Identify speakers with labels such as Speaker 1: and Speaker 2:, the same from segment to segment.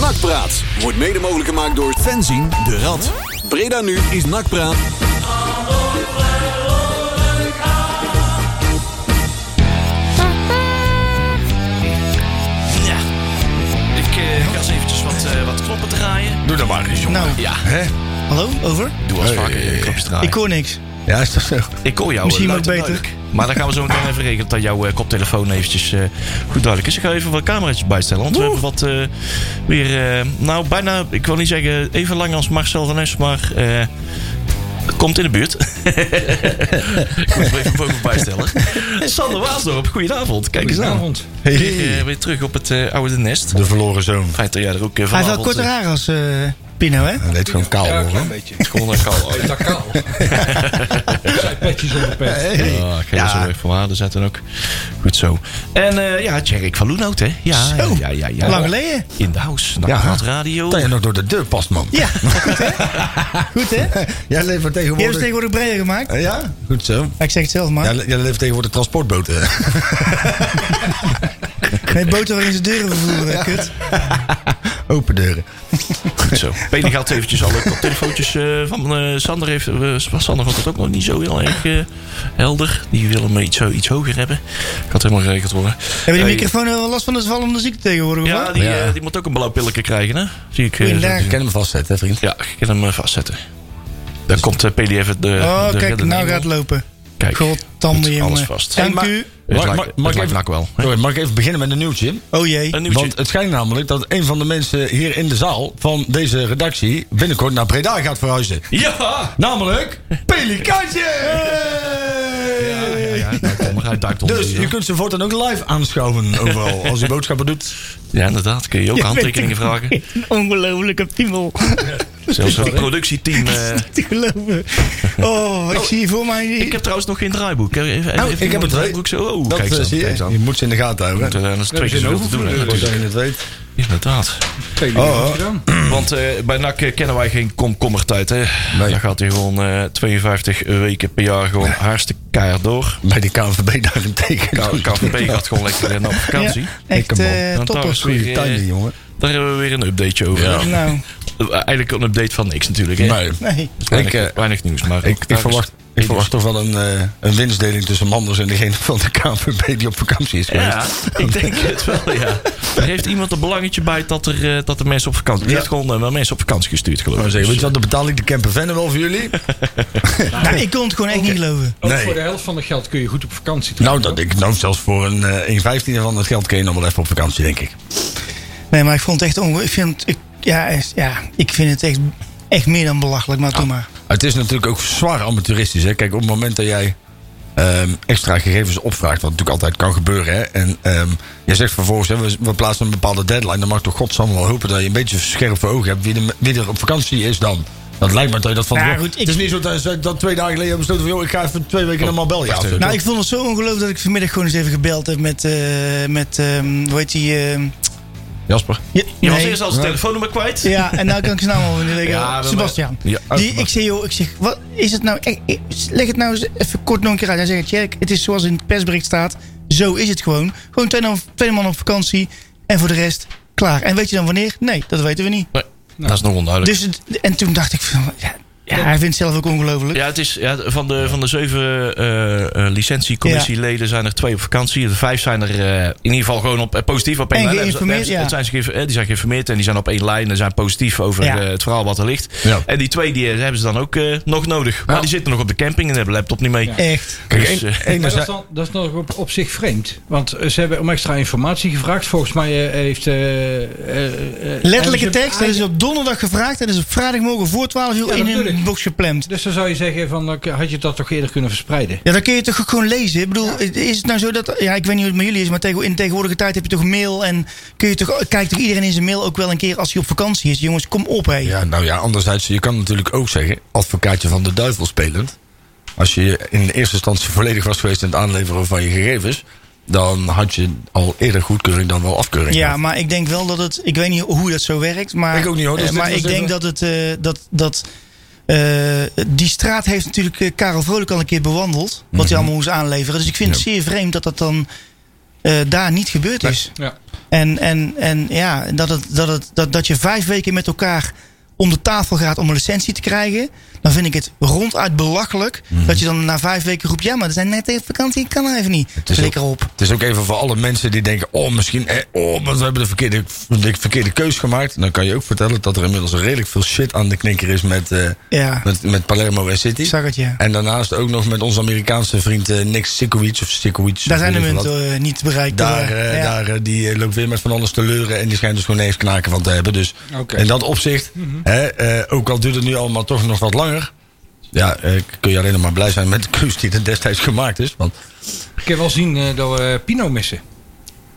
Speaker 1: Nakpraat wordt mede mogelijk gemaakt door Fenzin de Rad. Breda nu is Nakpraat.
Speaker 2: Ja. Ik eh, ga eens eventjes wat, eh, wat kloppen draaien.
Speaker 3: Doe dat maar eens, jongen.
Speaker 4: Nou.
Speaker 3: Ja. Hè?
Speaker 4: Hallo, over?
Speaker 2: Doe als vaker je klopjes draaien.
Speaker 4: Ik hoor niks.
Speaker 3: Ja, is dat zo?
Speaker 2: Ik hoor jou
Speaker 4: Misschien
Speaker 2: eh,
Speaker 4: wel
Speaker 2: luid en
Speaker 4: beter.
Speaker 2: duidelijk. Maar dan gaan we zo meteen even regelen dat jouw eh, koptelefoon eventjes eh, goed duidelijk is. Ik ga even wat cameraatjes bijstellen. Want we hebben wat eh, weer... eh, nou, bijna... Ik wil niet zeggen even lang als Marcel van Es, maar... eh, het komt in de buurt. ik moet er even boven bijstellen. Sander Waasdorp, goedenavond. Kijk
Speaker 3: Nou,
Speaker 2: eens aan.
Speaker 3: Hey.
Speaker 2: Weer, eh, weer terug op het eh, oude nest.
Speaker 3: De verloren zoon.
Speaker 2: Fijn dat jij er ook eh,
Speaker 4: Hij heeft
Speaker 2: vanavond...
Speaker 4: wel korter
Speaker 2: eh,
Speaker 4: haar als eh, Pino, hè?
Speaker 3: Hij deed gewoon kaal, hoor. hè?
Speaker 2: Gewoon een kou.
Speaker 5: Dat kaal. Zijn petjes onder pet.
Speaker 3: Hey.
Speaker 2: Ja, Ah, ik ga ja. zo weg van waarde zetten ook. Goed zo. En eh, ja, Tjerk van Loenhout, hè? Ja,
Speaker 4: Zo.
Speaker 2: ja, ja, ja.
Speaker 4: Lang geleden.
Speaker 2: In de house.
Speaker 3: Ja.
Speaker 2: Nakpraat Radio.
Speaker 3: Dat je nog door de deur past, man.
Speaker 4: Ja, goed hè? Goed hè? Die
Speaker 3: Jij levert
Speaker 4: hebben ze
Speaker 3: tegenwoordig...
Speaker 4: tegenwoordig breder gemaakt.
Speaker 3: Eh, Ja, goed zo.
Speaker 4: Maar ik zeg het zelf maar.
Speaker 3: Jij, le- jij levert tegenwoordig transportboten.
Speaker 4: Met boten waarin ze deuren vervoeren, hè, kut.
Speaker 3: Open deuren.
Speaker 2: Goed zo. Benen gaat eventjes alle koptelefoontjes eh, van eh, Sander. Heeft, eh, Sander vond het ook nog niet zo heel erg eh, helder. Die wil hem iets, zo, iets hoger hebben. Gaat helemaal geregeld worden.
Speaker 4: Hebben die
Speaker 2: Eh,
Speaker 4: microfoon wel last van de zwallende ziekte tegenwoordig? of
Speaker 2: Ja,
Speaker 4: wat?
Speaker 2: die,
Speaker 3: Ja.
Speaker 2: eh, die moet ook een blauw pilletje krijgen, hè? Zie ik. eh, zo.
Speaker 4: Goeiedag.
Speaker 3: Dus Ik ken hem vastzetten, hè, vriend.
Speaker 2: ja, ik kan hem eh, vastzetten. Dan komt eh, PDF de.
Speaker 4: Oh,
Speaker 2: de
Speaker 4: kijk,
Speaker 2: reddende
Speaker 4: nou
Speaker 2: engel.
Speaker 4: gaat het lopen.
Speaker 2: Kijk,
Speaker 4: Goddamme,
Speaker 2: goed,
Speaker 4: jongen.
Speaker 2: alles vast.
Speaker 4: Dank
Speaker 3: Hey, maar-
Speaker 4: u.
Speaker 2: Het
Speaker 3: Mag-
Speaker 2: lijkt-
Speaker 3: mag-
Speaker 2: het
Speaker 3: mag ik
Speaker 2: lijkt
Speaker 3: even-
Speaker 2: nak wel. hè?
Speaker 3: Sorry, mag ik even beginnen met een nieuwtje?
Speaker 4: Oh jee.
Speaker 2: Een nieuwtje.
Speaker 3: Want het schijnt namelijk dat een van de mensen hier in de zaal van deze redactie binnenkort naar Breda gaat verhuizen.
Speaker 2: Ja!
Speaker 3: Namelijk Pelikaantje!
Speaker 2: Ja, ja, ja, hij duikt onder, hij duikt onder.
Speaker 3: Dus
Speaker 2: ja.
Speaker 3: u kunt ze voortaan ook live aanschouwen overal als u boodschappen doet.
Speaker 2: Ja, inderdaad. Kun je ook
Speaker 4: Je
Speaker 2: handtekeningen
Speaker 4: bent een-
Speaker 2: vragen.
Speaker 4: Een ongelofelijke piemel.
Speaker 2: Zelfs het productieteam. eh,
Speaker 4: Te geloven. Oh, ik zie hier voor mij...
Speaker 2: ik heb trouwens nog geen draaiboek. Even, even,
Speaker 3: Nou,
Speaker 2: even
Speaker 3: ik heb
Speaker 2: een
Speaker 3: het
Speaker 2: draaiboek zo. Oh,
Speaker 3: Dat
Speaker 2: kijk
Speaker 3: eh,
Speaker 2: eens aan.
Speaker 3: zie
Speaker 2: Kijk eens
Speaker 3: je.
Speaker 2: aan.
Speaker 3: Je moet ze in de gaten houden.
Speaker 2: Want, eh, dat is twee keer zoveel te doen. hè,
Speaker 3: Als
Speaker 2: natuurlijk.
Speaker 3: je het weet.
Speaker 2: eh, Inderdaad.
Speaker 3: Oh, oh.
Speaker 2: Want eh, bij NAC eh, kennen wij geen komkommertijd. Hè?
Speaker 3: Nee.
Speaker 2: Dan gaat hij gewoon eh, 52 weken per jaar gewoon hartstikke keihard door.
Speaker 3: Bij de KNVB
Speaker 2: Nou,
Speaker 3: daarentegen.
Speaker 2: KVP gaat gewoon lekker eh, op vakantie.
Speaker 4: Ja, echt
Speaker 3: Lekker man.
Speaker 4: eh,
Speaker 2: Dan
Speaker 4: toppers.
Speaker 2: thuis weer,
Speaker 3: Goeie
Speaker 2: eh,
Speaker 3: timing, jongen.
Speaker 2: Daar hebben we weer een updateje over.
Speaker 3: Ja.
Speaker 2: Eh,
Speaker 4: Nou,
Speaker 2: Eigenlijk een update van niks natuurlijk. Hè?
Speaker 3: Nee.
Speaker 4: nee.
Speaker 2: Weinig,
Speaker 3: Ik, eh,
Speaker 2: weinig nieuws. Maar
Speaker 3: Ik, ik, verwacht,
Speaker 2: dus-
Speaker 3: ik verwacht toch wel een, eh, een winstdeling tussen Manders en degene van de KNVB die op vakantie is geweest.
Speaker 2: Ja, ik denk het wel, ja. Er heeft iemand een belangetje bij dat er, eh, dat er mensen op vakantie... Die
Speaker 3: Ja.
Speaker 2: heeft gewoon eh, wel mensen op vakantie gestuurd, geloof
Speaker 3: Maar
Speaker 2: ik. Dus
Speaker 3: zeg, weet je wat, dan betaal ik de campervan wel voor jullie.
Speaker 4: Nou, ik kon het gewoon echt niet geloven.
Speaker 5: Ook
Speaker 3: Nee.
Speaker 5: voor de helft van het geld kun je goed op vakantie.
Speaker 3: Nou, dat ik, nou zelfs voor een eh 1,15 van het geld kun je nog wel even op vakantie, denk ik.
Speaker 4: Nee, maar ik vond het echt onge... Ik vind, het- ik, ja, echt- ja, ik vind het echt, echt meer dan belachelijk, maar doe maar.
Speaker 3: Het is natuurlijk ook zwaar amateuristisch. Hè? Kijk, op het moment dat jij ehm, extra gegevens opvraagt, wat natuurlijk altijd kan gebeuren. Hè? En ehm je zegt vervolgens, hè, we, we plaatsen een bepaalde deadline. Dan mag toch godsam wel hopen dat je een beetje scherp voor ogen hebt wie, de- wie er op vakantie is dan. Dat lijkt me dat je dat van...
Speaker 4: Nou,
Speaker 3: tevoren-
Speaker 4: goed, ik-
Speaker 3: Het is niet zo dat, ze- dat twee dagen geleden hebben besloten van... joh, ik ga even twee weken naar Marbella.
Speaker 2: wacht
Speaker 3: of zo.
Speaker 2: even.
Speaker 4: Nou, ik vond het zo ongelooflijk dat ik vanmiddag gewoon eens even gebeld heb met... eh, met ehm, hoe heet die... ehm,
Speaker 3: Jasper.
Speaker 4: ja,
Speaker 2: Je was
Speaker 4: nee.
Speaker 2: eerst al zijn telefoonnummer kwijt.
Speaker 4: Ja, en nou kan ik zijn naam al in de leger.
Speaker 2: Ja, maar-
Speaker 4: Sebastian.
Speaker 2: Ja, oh,
Speaker 4: die, ik zeg, joh, ik zeg, wat is het nou? echt? Ik- Leg het nou eens even kort nog een keer uit. Hij zegt, Jerk, het is zoals in het persbericht staat. Zo is het gewoon. Gewoon twee, twee man op vakantie en voor de rest klaar. En weet je dan wanneer? Nee, dat weten we niet.
Speaker 2: Nee, dat is nog onduidelijk.
Speaker 4: Dus, het- en toen dacht ik, van, ja, ja, hij vindt het zelf ook ongelooflijk.
Speaker 2: ja, het is, ja, van, de, van de zeven eh, eh, licentiecommissieleden zijn er twee op vakantie. De vijf zijn er eh, in ieder geval gewoon op, eh, positief op één
Speaker 4: En
Speaker 2: lijn.
Speaker 4: geïnformeerd,
Speaker 2: Daar hebben ze-
Speaker 4: ja.
Speaker 2: zijn ze geïnf- eh, die zijn geïnformeerd en die zijn op één lijn en zijn positief over
Speaker 4: Ja.
Speaker 2: eh, het verhaal wat er ligt.
Speaker 3: Ja.
Speaker 2: En die twee die eh, hebben ze dan ook eh, nog nodig. Maar
Speaker 3: Ja.
Speaker 2: die zitten nog op de camping en hebben laptop niet mee.
Speaker 4: Echt.
Speaker 3: Kijk,
Speaker 2: Dus,
Speaker 3: één-
Speaker 2: eh,
Speaker 3: één
Speaker 5: Maar dat, is
Speaker 3: is-
Speaker 5: dan, dat is nog op, op zich vreemd. Want eh, ze hebben om extra informatie gevraagd. Volgens mij eh, heeft... eh, eh, eh,
Speaker 4: Letterlijke
Speaker 5: hebben ze-
Speaker 4: tekst. Dat is op donderdag gevraagd. En dat is op vrijdagmorgen voor 12 uur
Speaker 5: Ja,
Speaker 4: in een
Speaker 5: natuurlijk.
Speaker 4: box gepland.
Speaker 5: Dus dan zou je zeggen, van, eh, had je dat toch eerder kunnen verspreiden?
Speaker 4: Ja, dan kun je toch ook gewoon lezen. Ik bedoel, is het nou zo dat. Ja, ik weet niet hoe het met jullie is, maar tegen, in de tegenwoordige tijd heb je toch mail. En kun je toch, kijkt toch iedereen in zijn mail ook wel een keer als hij op vakantie is. Jongens, kom op, hé.
Speaker 3: Ja, nou ja, anderzijds, je kan natuurlijk ook zeggen, advocaatje van de duivel spelend. Als je in de eerste instantie volledig was geweest in het aanleveren van je gegevens, dan had je al eerder goedkeuring dan wel afkeuring.
Speaker 4: Ja,
Speaker 3: gehad.
Speaker 4: maar ik denk wel dat het. Ik weet niet hoe dat zo werkt. Maar,
Speaker 3: Ik ook niet, hoor. Dus
Speaker 4: eh,
Speaker 3: dit
Speaker 4: maar
Speaker 3: was
Speaker 4: ik denk
Speaker 3: even-
Speaker 4: dat het. eh, dat, dat, eh, die straat heeft natuurlijk eh, Karel Vrolijk al een keer bewandeld. Wat
Speaker 3: Mhm.
Speaker 4: hij allemaal moest aanleveren. Dus ik vind het zeer vreemd dat dat dan eh, daar niet gebeurd is.
Speaker 5: Ja.
Speaker 4: En, en, en ja, dat, het, dat, het, dat, dat je vijf weken met elkaar om de tafel gaat om een licentie te krijgen. Dan vind ik het ronduit belachelijk.
Speaker 3: Mhm.
Speaker 4: Dat je dan na vijf weken roept. Ja, maar er zijn net even vakantie. Ik kan er even niet.
Speaker 3: is
Speaker 4: Flikker
Speaker 3: ook-
Speaker 4: op.
Speaker 3: Het is ook even voor alle mensen die denken: oh, misschien, eh, oh, want we hebben de verkeerde, de verkeerde keus gemaakt. En dan kan je ook vertellen dat er inmiddels redelijk veel shit aan de knikker is met, eh,
Speaker 4: Ja,
Speaker 3: met, met Palermo en City.
Speaker 4: ik zag het ja.
Speaker 3: En daarnaast ook nog met onze Amerikaanse vriend eh, Nick Sikowicz of Sikowicz.
Speaker 4: Daar
Speaker 3: of
Speaker 4: zijn de
Speaker 3: in ieder geval
Speaker 4: munten eh, niet bereikt.
Speaker 3: Daar,
Speaker 4: door,
Speaker 3: eh,
Speaker 4: ja.
Speaker 3: daar, eh, die eh, loopt weer met van alles te leuren. En die schijnt dus gewoon even knaken van te hebben. Dus
Speaker 5: Oké.
Speaker 3: in dat opzicht, hè, eh, ook al duurt het nu allemaal toch nog wat langer. Ja, eh, kun je alleen nog maar blij zijn met de keus die er destijds gemaakt is. Want
Speaker 5: Ik heb wel zien eh, dat we Pino missen.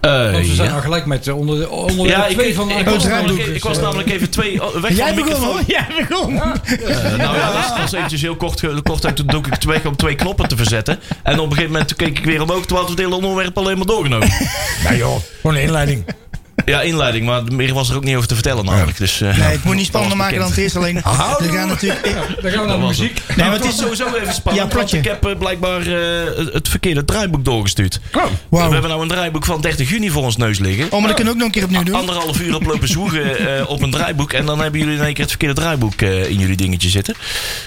Speaker 2: Eh,
Speaker 4: Oh,
Speaker 5: Want we zijn
Speaker 2: ja.
Speaker 5: nou gelijk met eh, onder de, onder
Speaker 2: Ja,
Speaker 5: de
Speaker 2: ik,
Speaker 5: twee van de
Speaker 2: ik, was
Speaker 5: Apollo.
Speaker 2: namelijk, ik was namelijk even twee oh, weg
Speaker 4: Jij
Speaker 2: van de
Speaker 4: begon
Speaker 2: microfoon.
Speaker 4: hoor. Jij begon.
Speaker 2: Eh, nou ja, dat is- dat is eventjes heel kort, ge- kort uit. Toen dook ik het weg om twee knoppen te verzetten. En op een gegeven moment toen keek ik weer omhoog. Toen hadden we het hele onderwerp alleen maar doorgenomen.
Speaker 3: Ja joh, gewoon een inleiding.
Speaker 2: Ja, inleiding. Maar meer was er ook niet over te vertellen namelijk. Dus, eh,
Speaker 4: Nee, het moet niet spannender
Speaker 2: dat was
Speaker 4: maken dan het
Speaker 2: bekend.
Speaker 4: is. Alleen, we gaan natuurlijk...
Speaker 5: Dan gaan we naar de
Speaker 2: was
Speaker 5: muziek.
Speaker 4: Nee, maar
Speaker 2: Maar
Speaker 4: het
Speaker 2: het is
Speaker 4: is...
Speaker 2: sowieso even spannend.
Speaker 4: Ja,
Speaker 2: want
Speaker 4: plotje.
Speaker 2: ik heb eh, blijkbaar eh, het- het verkeerde draaiboek doorgestuurd.
Speaker 4: Wauw.
Speaker 2: We hebben nou een draaiboek van 30 juni voor ons neus liggen.
Speaker 4: Oh, maar dat kunnen we ook nog een keer opnieuw doen.
Speaker 2: Anderhalf uur op lopen zoegen eh, op een draaiboek. En dan hebben jullie in één keer het verkeerde draaiboek eh, in jullie dingetje zitten.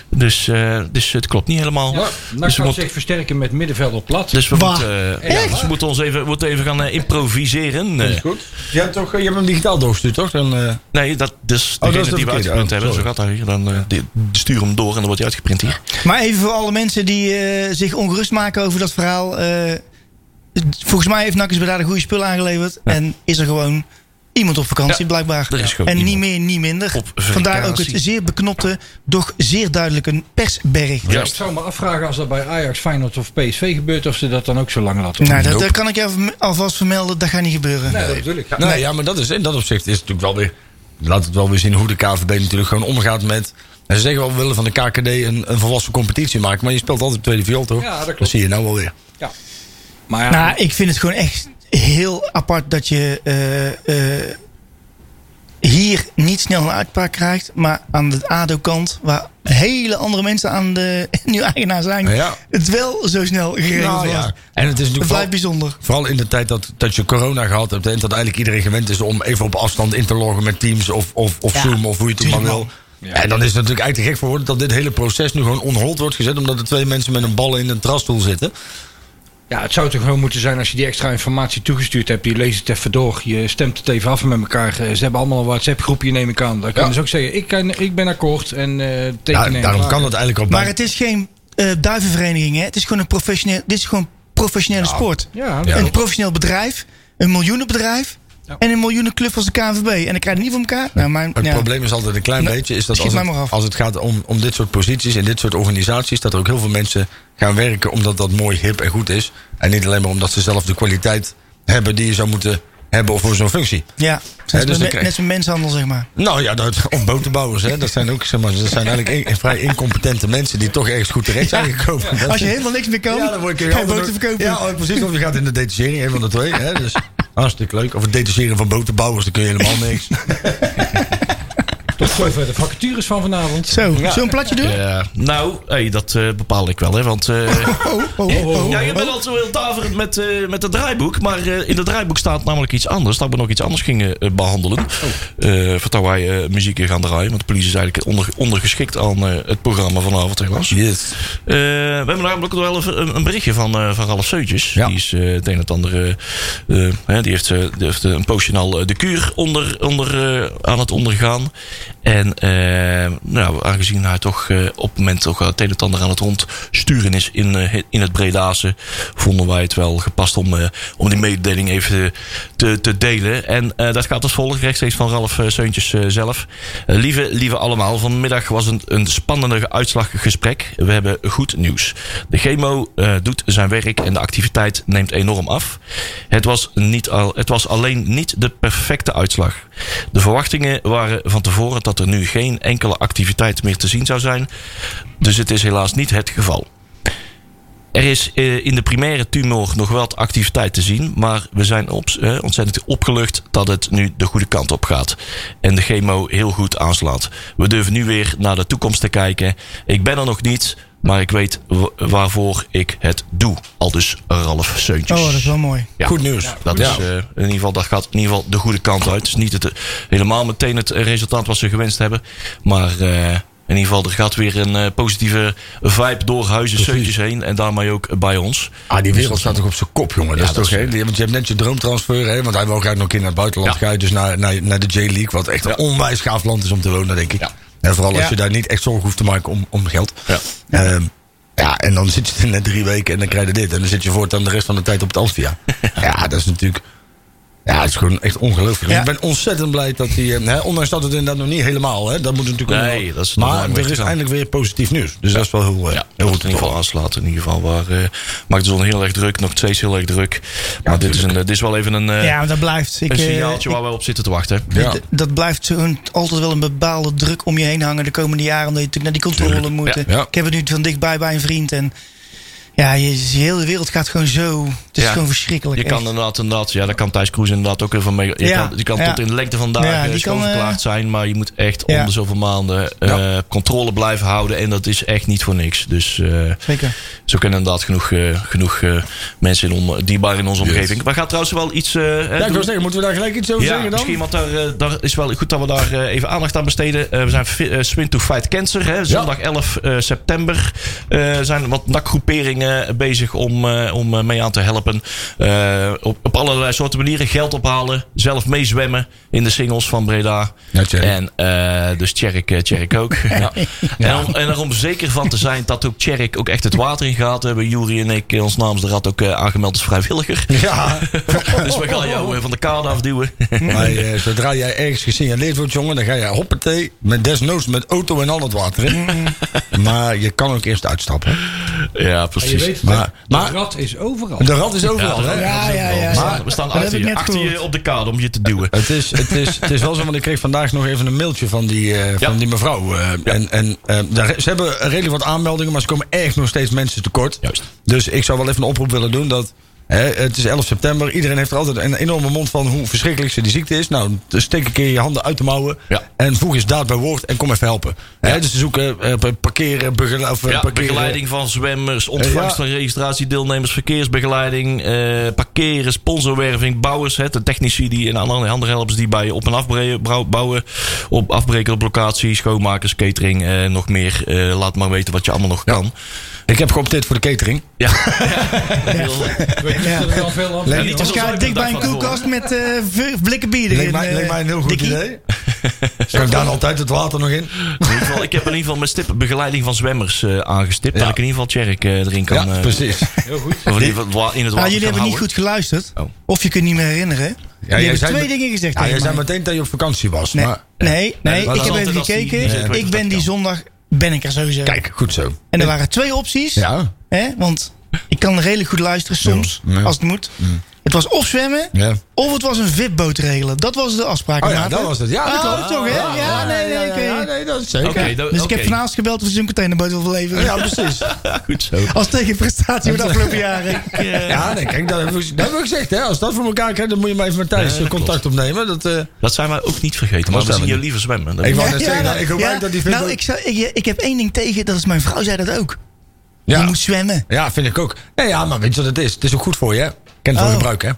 Speaker 2: Dus, eh, dus het klopt niet helemaal.
Speaker 5: Ja, dan
Speaker 2: dus we,
Speaker 5: kan
Speaker 2: moeten-
Speaker 5: zich versterken met middenveld op plat.
Speaker 2: dus we
Speaker 4: Waar?
Speaker 2: moeten, eh, ja, dus we moeten ons even, we moeten even gaan eh, improviseren. Eh,
Speaker 3: Goed. Je hebt, toch, je hebt hem digitaal doorgestuurd, toch? Dan, eh,
Speaker 2: nee, dat, dus
Speaker 3: dat is
Speaker 2: degene
Speaker 3: de
Speaker 2: die we
Speaker 3: verkeerde.
Speaker 2: uitgeprint
Speaker 3: Oh,
Speaker 2: hebben. Zo
Speaker 3: sorry.
Speaker 2: gaat dat hier. Dan eh, die- stuur hem door en dan wordt hij uitgeprint hier.
Speaker 4: Maar even voor alle mensen die eh, zich ongerust maken over dat verhaal. eh, volgens mij heeft Nakkers Breda de goede spullen aangeleverd. En is er gewoon iemand op vakantie
Speaker 2: Ja,
Speaker 4: blijkbaar.
Speaker 2: er is gewoon
Speaker 4: en niet
Speaker 2: iemand
Speaker 4: meer, niet minder.
Speaker 2: op
Speaker 4: Vandaar ook het
Speaker 2: vakantie.
Speaker 4: zeer beknopte, doch zeer duidelijke persberg.
Speaker 5: Ja,
Speaker 2: Ja.
Speaker 5: ik zou me afvragen als dat bij Ajax, Feyenoord of PSV gebeurt, of ze dat dan ook zo lang laten.
Speaker 4: Nou, dat,
Speaker 3: Nope.
Speaker 4: dat kan ik je alv- alvast vermelden. Dat gaat niet gebeuren.
Speaker 5: nee, dat bedoel ik.
Speaker 3: nou ja, maar dat is, in dat opzicht is het natuurlijk wel weer... Laat het wel weer zien hoe de KVB natuurlijk gewoon omgaat met... En ze zeggen wel, we willen van de KKD een, een volwassen competitie maken. Maar je speelt altijd tweede viool, toch?
Speaker 5: Ja, dat klopt.
Speaker 3: zie je nou wel weer.
Speaker 5: Maar ja,
Speaker 4: Nou, ik vind het gewoon echt heel apart dat je eh, eh, hier niet snel een uitbraak krijgt. Maar aan de ADO-kant, waar hele andere mensen aan de nu eigenaar zijn,
Speaker 3: Ja.
Speaker 4: het wel zo snel geregeld
Speaker 3: Nou,
Speaker 4: wordt.
Speaker 3: ja. En het is
Speaker 4: Het
Speaker 3: natuurlijk
Speaker 4: blijft
Speaker 3: vooral,
Speaker 4: bijzonder.
Speaker 3: vooral in de tijd dat, dat je corona gehad hebt... en dat eigenlijk iedereen gewend is om even op afstand in te loggen met Teams of, of, of
Speaker 4: Ja,
Speaker 3: Zoom... of hoe je het ook maar
Speaker 4: tuurlijk,
Speaker 3: wil. En dan is het natuurlijk eigenlijk te gek voor woorden... dat dit hele proces nu gewoon onhold wordt gezet... omdat er twee mensen met een bal in een trasstoel zitten.
Speaker 5: ja, het zou toch gewoon moeten zijn als je die extra informatie toegestuurd hebt. Je leest het even door, je stemt het even af met elkaar. Eh, Ze hebben allemaal een WhatsApp-groepje, neem ik aan. Dan kan
Speaker 3: Ja.
Speaker 5: je dus ook zeggen, ik, kan, ik ben akkoord en eh
Speaker 3: Ja,
Speaker 5: tekenen. en
Speaker 3: daarom
Speaker 5: klaar.
Speaker 3: kan dat eigenlijk al
Speaker 4: Maar
Speaker 3: bij.
Speaker 4: het is geen eh, duivenvereniging, hè? Het is gewoon een professioneel, dit is gewoon professionele sport.
Speaker 5: Ja,
Speaker 3: Ja.
Speaker 4: Een professioneel bedrijf, een miljoenenbedrijf
Speaker 5: Ja.
Speaker 4: en een miljoenenclub als de KNVB. En dan krijg je het niet voor elkaar. Nou, mijn,
Speaker 3: Het
Speaker 4: ja.
Speaker 3: probleem is altijd een klein
Speaker 4: Nou,
Speaker 3: beetje, is dat
Speaker 4: schiet
Speaker 3: als
Speaker 4: mij maar
Speaker 3: het,
Speaker 4: af.
Speaker 3: als het gaat om, om dit soort posities en dit soort organisaties, dat er ook heel veel mensen gaan werken omdat dat mooi, hip en goed is. En niet alleen maar omdat ze zelf de kwaliteit hebben die je zou moeten hebben voor zo'n functie.
Speaker 4: Ja,
Speaker 3: dus dan
Speaker 4: net,
Speaker 3: krijg-
Speaker 4: net zo'n menshandel, zeg maar.
Speaker 3: Nou ja, dat, om botenbouwers, hè, dat zijn ook zeg maar, dat zijn eigenlijk in- vrij incompetente mensen die toch ergens goed terecht zijn gekomen. Dat
Speaker 4: Als je
Speaker 3: is-
Speaker 4: helemaal niks meer kan,
Speaker 3: ja, dan word je
Speaker 4: ga je boten verkopen.
Speaker 3: Ja, oh, precies. Of je gaat in de detachering, een van de twee. Hè, dus hartstikke leuk. Of het detacheren van botenbouwers, dan kun je helemaal niks.
Speaker 5: Tot zover de vacatures van vanavond.
Speaker 4: Zo, zullen we een platje doen?
Speaker 2: Ja, nou, hey, dat eh, bepaal ik wel. Hè, want eh,
Speaker 4: Oh, oh, oh, oh.
Speaker 2: Ja, je bent al zo heel daverend met, eh, met het draaiboek. Maar eh, in het draaiboek staat namelijk iets anders. Dat we nog iets anders gingen eh, behandelen.
Speaker 4: Oh.
Speaker 2: Eh, Voordat wij eh, muziek in gaan draaien. Want de police is eigenlijk onder, ondergeschikt aan eh, het programma vanavond helaas.
Speaker 3: Yes.
Speaker 2: Eh, we hebben namelijk nog wel even een, een berichtje van, eh, van Ralf Seutjes.
Speaker 3: Ja.
Speaker 2: Die is eh, het een en het andere. eh, hè, die, heeft, eh, die heeft een poosje al eh, de kuur onder, onder, eh, aan het ondergaan. En eh, nou, aangezien hij toch eh, op het moment toch eh, het een en het ander aan het rondsturen is in, eh, in het Bredase. vonden wij het wel gepast om, eh, om die mededeling even te, te delen. En eh, dat gaat als volgt rechtstreeks van Ralf eh, Seuntjes eh, zelf. Eh, lieve, lieve allemaal, vanmiddag was een, een spannende uitslaggesprek. We hebben goed nieuws. De chemo eh, doet zijn werk en de activiteit neemt enorm af. Het was, niet al, het was alleen niet de perfecte uitslag. De verwachtingen waren van tevoren dat er nu geen enkele activiteit meer te zien zou zijn. Dus het is helaas niet het geval. Er is eh, in de primaire tumor nog wel wat activiteit te zien. Maar we zijn op, eh, ontzettend opgelucht dat het nu de goede kant op gaat. En de chemo heel goed aanslaat. We durven nu weer naar de toekomst te kijken. Ik ben er nog niet, maar ik weet wa- waarvoor ik het doe. Al dus Ralf Seuntjes.
Speaker 4: Oh, dat is wel mooi.
Speaker 2: Ja.
Speaker 3: Goed nieuws.
Speaker 2: Dat
Speaker 3: Ja.
Speaker 2: is eh, in ieder geval, dat gaat in ieder geval de goede kant uit. Het is niet het, eh, helemaal meteen het eh, resultaat wat ze gewenst hebben. Maar eh, in ieder geval, er gaat weer een eh, positieve vibe door huizen Seuntjes heen. En daarmee ook bij ons.
Speaker 3: Ah, die wereld staat toch op zijn kop, jongen. dat is
Speaker 2: Dus- dat
Speaker 3: toch,
Speaker 2: is-
Speaker 3: hè? Die- Want je hebt net je droomtransfer, hè? Want hij wil graag nog een keer naar het buitenland
Speaker 2: Ja.
Speaker 3: gaan. Dus naar, naar, naar de J-League, wat echt een onwijs gaaf land is om te wonen, denk ik. En vooral als
Speaker 4: Ja.
Speaker 3: je daar niet echt zorgen hoeft te maken om, om geld.
Speaker 2: Ja.
Speaker 3: Ehm, ja, en dan zit je er net drie weken en dan krijg je dit. En dan zit je voortaan de rest van de tijd op het Alstia. ja, dat is natuurlijk... Ja, het is gewoon echt ongelooflijk. Dus
Speaker 4: Ja.
Speaker 3: ik ben ontzettend blij dat die... eh, Hè, ondanks dat het inderdaad nog niet helemaal... Hè, dat moet natuurlijk
Speaker 2: Nee,
Speaker 3: nog-
Speaker 2: dat is nog
Speaker 3: maar
Speaker 2: lang weg
Speaker 3: er
Speaker 2: te
Speaker 3: is
Speaker 2: gaan.
Speaker 3: eindelijk weer positief nieuws. Dus dat is wel heel,
Speaker 2: Ja,
Speaker 3: eh, heel
Speaker 2: heel
Speaker 3: goed.
Speaker 2: in ieder geval aanslaat. In ieder geval waar eh, maakt de zon heel erg druk, nog steeds heel erg druk. maar dit is, een, eh, dit is wel even een, eh,
Speaker 4: ja, maar dat blijft. Ik,
Speaker 2: een
Speaker 4: eh,
Speaker 2: signaaltje waar we op zitten te wachten.
Speaker 3: Ja.
Speaker 4: D- Dat blijft zo'n- altijd wel een bepaalde druk om je heen hangen de komende jaren. Omdat je natuurlijk naar die controle
Speaker 2: Tuurlijk,
Speaker 4: moet.
Speaker 2: ja,
Speaker 3: ja.
Speaker 4: Ik heb het nu van dichtbij bij een vriend. En ja, je, je hele wereld gaat gewoon zo. Het is
Speaker 2: Ja.
Speaker 4: gewoon verschrikkelijk.
Speaker 2: Je kan
Speaker 4: echt.
Speaker 2: inderdaad, inderdaad, ja, daar kan Thijs Kroes inderdaad ook even mee. Je
Speaker 4: Ja,
Speaker 2: kan, je kan
Speaker 4: ja.
Speaker 2: tot in de lengte van
Speaker 4: Ja,
Speaker 2: dagen
Speaker 4: die
Speaker 2: ja,
Speaker 4: kan, eh,
Speaker 2: zijn, maar je moet echt
Speaker 4: Ja.
Speaker 2: om de zoveel maanden eh,
Speaker 3: Ja.
Speaker 2: controle blijven houden. En dat is echt niet voor niks. Dus eh,
Speaker 4: Zeker.
Speaker 2: zo kunnen inderdaad genoeg, eh, genoeg eh, mensen in on, dierbaar in onze omgeving. We gaan trouwens wel iets. eh, hè,
Speaker 3: Ja, ik
Speaker 2: doen.
Speaker 3: wil zeggen, moeten we daar gelijk iets over
Speaker 2: Ja,
Speaker 3: zeggen dan?
Speaker 2: misschien, want daar, eh, daar is wel goed dat we daar eh, even aandacht aan besteden. Eh, we zijn fi- eh, Swim to Fight Cancer. Hè. Zondag 11 eh, september eh, zijn wat NAC-groeperingen bezig om, eh, om eh, mee aan te helpen. Eh, op, op allerlei soorten manieren. Geld ophalen, zelf meezwemmen in de singles van Breda.
Speaker 3: Ja, Tjerk.
Speaker 2: en eh, dus Tjerk, eh, Tjerk ook. Ja. En, om, en er om zeker van te zijn dat ook Tjerk ook echt het water in gaat, hebben Juri en ik eh, ons namens de Rad ook eh, aangemeld als vrijwilliger.
Speaker 3: Ja,
Speaker 2: Dus we gaan jou eh, van de kade afduwen.
Speaker 3: maar eh, zodra jij ergens gesignaleerd wordt, jongen, dan ga je hoppatee, met desnoods met auto en al het water in. maar je kan ook eerst uitstappen.
Speaker 2: Ja,
Speaker 5: Maar je
Speaker 2: precies.
Speaker 5: weet het,
Speaker 3: Maar-
Speaker 5: hè?
Speaker 3: maar-
Speaker 5: de rat is overal.
Speaker 3: De rat is overal,
Speaker 2: Ja,
Speaker 3: hè?
Speaker 4: Ja, ja, ja.
Speaker 2: We
Speaker 4: ja.
Speaker 2: staan- We staan
Speaker 4: Dat
Speaker 2: achter,
Speaker 4: heb ik
Speaker 2: je,
Speaker 4: net
Speaker 2: achter je
Speaker 4: gehoord.
Speaker 2: op de kade om je te duwen.
Speaker 3: Het is, het, is, het is wel zo, want ik kreeg vandaag nog even een mailtje van die, eh,
Speaker 2: Ja.
Speaker 3: van die mevrouw. eh, En, en eh, daar, ze hebben redelijk wat aanmeldingen, maar ze komen echt nog steeds mensen tekort.
Speaker 2: Juist.
Speaker 3: Dus ik zou wel even een oproep willen doen dat. Hè, het is 11 september. Iedereen heeft er altijd een enorme mond van hoe verschrikkelijk ze die ziekte is. Nou, dus steek een keer je handen uit de mouwen.
Speaker 2: Ja.
Speaker 3: En voeg eens daad bij woord en kom even helpen. Hè, dus ze zoeken eh, pa- parkeren, begele- of, eh,
Speaker 2: Ja,
Speaker 3: parkeren.
Speaker 2: begeleiding van zwemmers, ontvangst
Speaker 3: Ja.
Speaker 2: van registratiedeelnemers, verkeersbegeleiding, eh, parkeren, sponsorwerving, bouwers, hè, de technici die en andere andere helpers die bij op- en afbre- brou- bouwen, op afbreken op locatie, schoonmakers, catering, eh, nog meer. Eh, laat maar weten wat je allemaal nog kan.
Speaker 3: Ik heb geopteerd voor de catering.
Speaker 2: Ja, heel-
Speaker 5: Weet je,
Speaker 4: Ja.
Speaker 5: er wel veel aan.
Speaker 3: Leen-
Speaker 2: niet
Speaker 4: Of
Speaker 2: zoveel
Speaker 4: ga
Speaker 2: zuipen
Speaker 4: ik dik bij een
Speaker 2: dag van
Speaker 4: koelkast met eh, v- blikken bier erin.
Speaker 3: Leek mij,
Speaker 4: eh,
Speaker 3: leek mij een heel goed
Speaker 4: Dikkie.
Speaker 3: idee. Kan ik daar altijd het water nog in?
Speaker 2: In ieder geval, ik heb in ieder geval mijn stip begeleiding van zwemmers eh, aangestipt, dat ik in ieder geval Tjerk eh, erin kan.
Speaker 3: ja,
Speaker 2: eh,
Speaker 3: precies.
Speaker 5: Heel goed.
Speaker 2: of in ieder geval wa- in het water kan
Speaker 4: Ah, jullie hebben niet
Speaker 2: houden.
Speaker 4: goed geluisterd.
Speaker 2: Oh.
Speaker 4: Of je kunt niet meer herinneren.
Speaker 3: jij
Speaker 4: je hebt
Speaker 3: zei
Speaker 4: twee
Speaker 3: met-
Speaker 4: dingen gezegd.
Speaker 3: Ja, jij
Speaker 4: tegen
Speaker 3: zei
Speaker 4: mij.
Speaker 3: meteen dat je op vakantie was.
Speaker 4: Nee,
Speaker 3: Maar
Speaker 4: nee, nee,
Speaker 2: maar dat
Speaker 4: ik
Speaker 2: is
Speaker 4: heb even
Speaker 2: altijd als die-
Speaker 4: gekeken.
Speaker 2: Nee, dat
Speaker 4: ik
Speaker 2: kan.
Speaker 4: ben die zondag ben ik er sowieso.
Speaker 3: kijk, goed zo.
Speaker 4: En er waren twee opties.
Speaker 3: Ja.
Speaker 4: Hè? Want ik kan redelijk goed luisteren soms,
Speaker 3: Ja, ja.
Speaker 4: als het moet. Het was of zwemmen,
Speaker 3: Ja.
Speaker 4: of het was een VIP-boot regelen. Dat was de afspraak.
Speaker 3: Oh ja,
Speaker 4: maat,
Speaker 3: dat
Speaker 4: hè?
Speaker 3: was het. Ja, dat
Speaker 4: Oh,
Speaker 3: klopt.
Speaker 4: toch, hè? Ja, nee, nee, oké.
Speaker 3: Ja, nee, dat is zeker.
Speaker 2: Oké, dat-
Speaker 4: Dus ik
Speaker 2: oké.
Speaker 4: heb vanavond gebeld of ze een containerboot wil verleveren.
Speaker 3: Ja, precies.
Speaker 2: Goed zo.
Speaker 4: Als tegenprestatie van de afgelopen jaren.
Speaker 3: Ja, eh, nee, kijk, dat hebben, we, dat hebben we gezegd. Hè. Als dat voor elkaar krijgt, dan moet je maar even met Thijs
Speaker 2: Ja, dat
Speaker 3: contact opnemen. Dat, eh,
Speaker 2: Dat zijn wij ook niet vergeten. Maar
Speaker 3: Dat
Speaker 2: we zien
Speaker 3: zijn we
Speaker 2: je liever zwemmen. Dat-
Speaker 3: Ik wou
Speaker 4: Ja,
Speaker 3: net
Speaker 4: ja,
Speaker 3: zeggen,
Speaker 4: nou,
Speaker 3: ik hoop
Speaker 4: ja,
Speaker 3: eigenlijk dat die vind
Speaker 4: Nou, ik, zou- ik, ik heb één ding tegen, dat is mijn vrouw zei dat ook. Je
Speaker 3: ja,
Speaker 4: moet zwemmen.
Speaker 3: ja, vind ik ook. Nee, ja, maar weet je wat het is? Het is ook goed voor je. hè. Ken het
Speaker 4: Oh.
Speaker 3: voor gebruik, hè?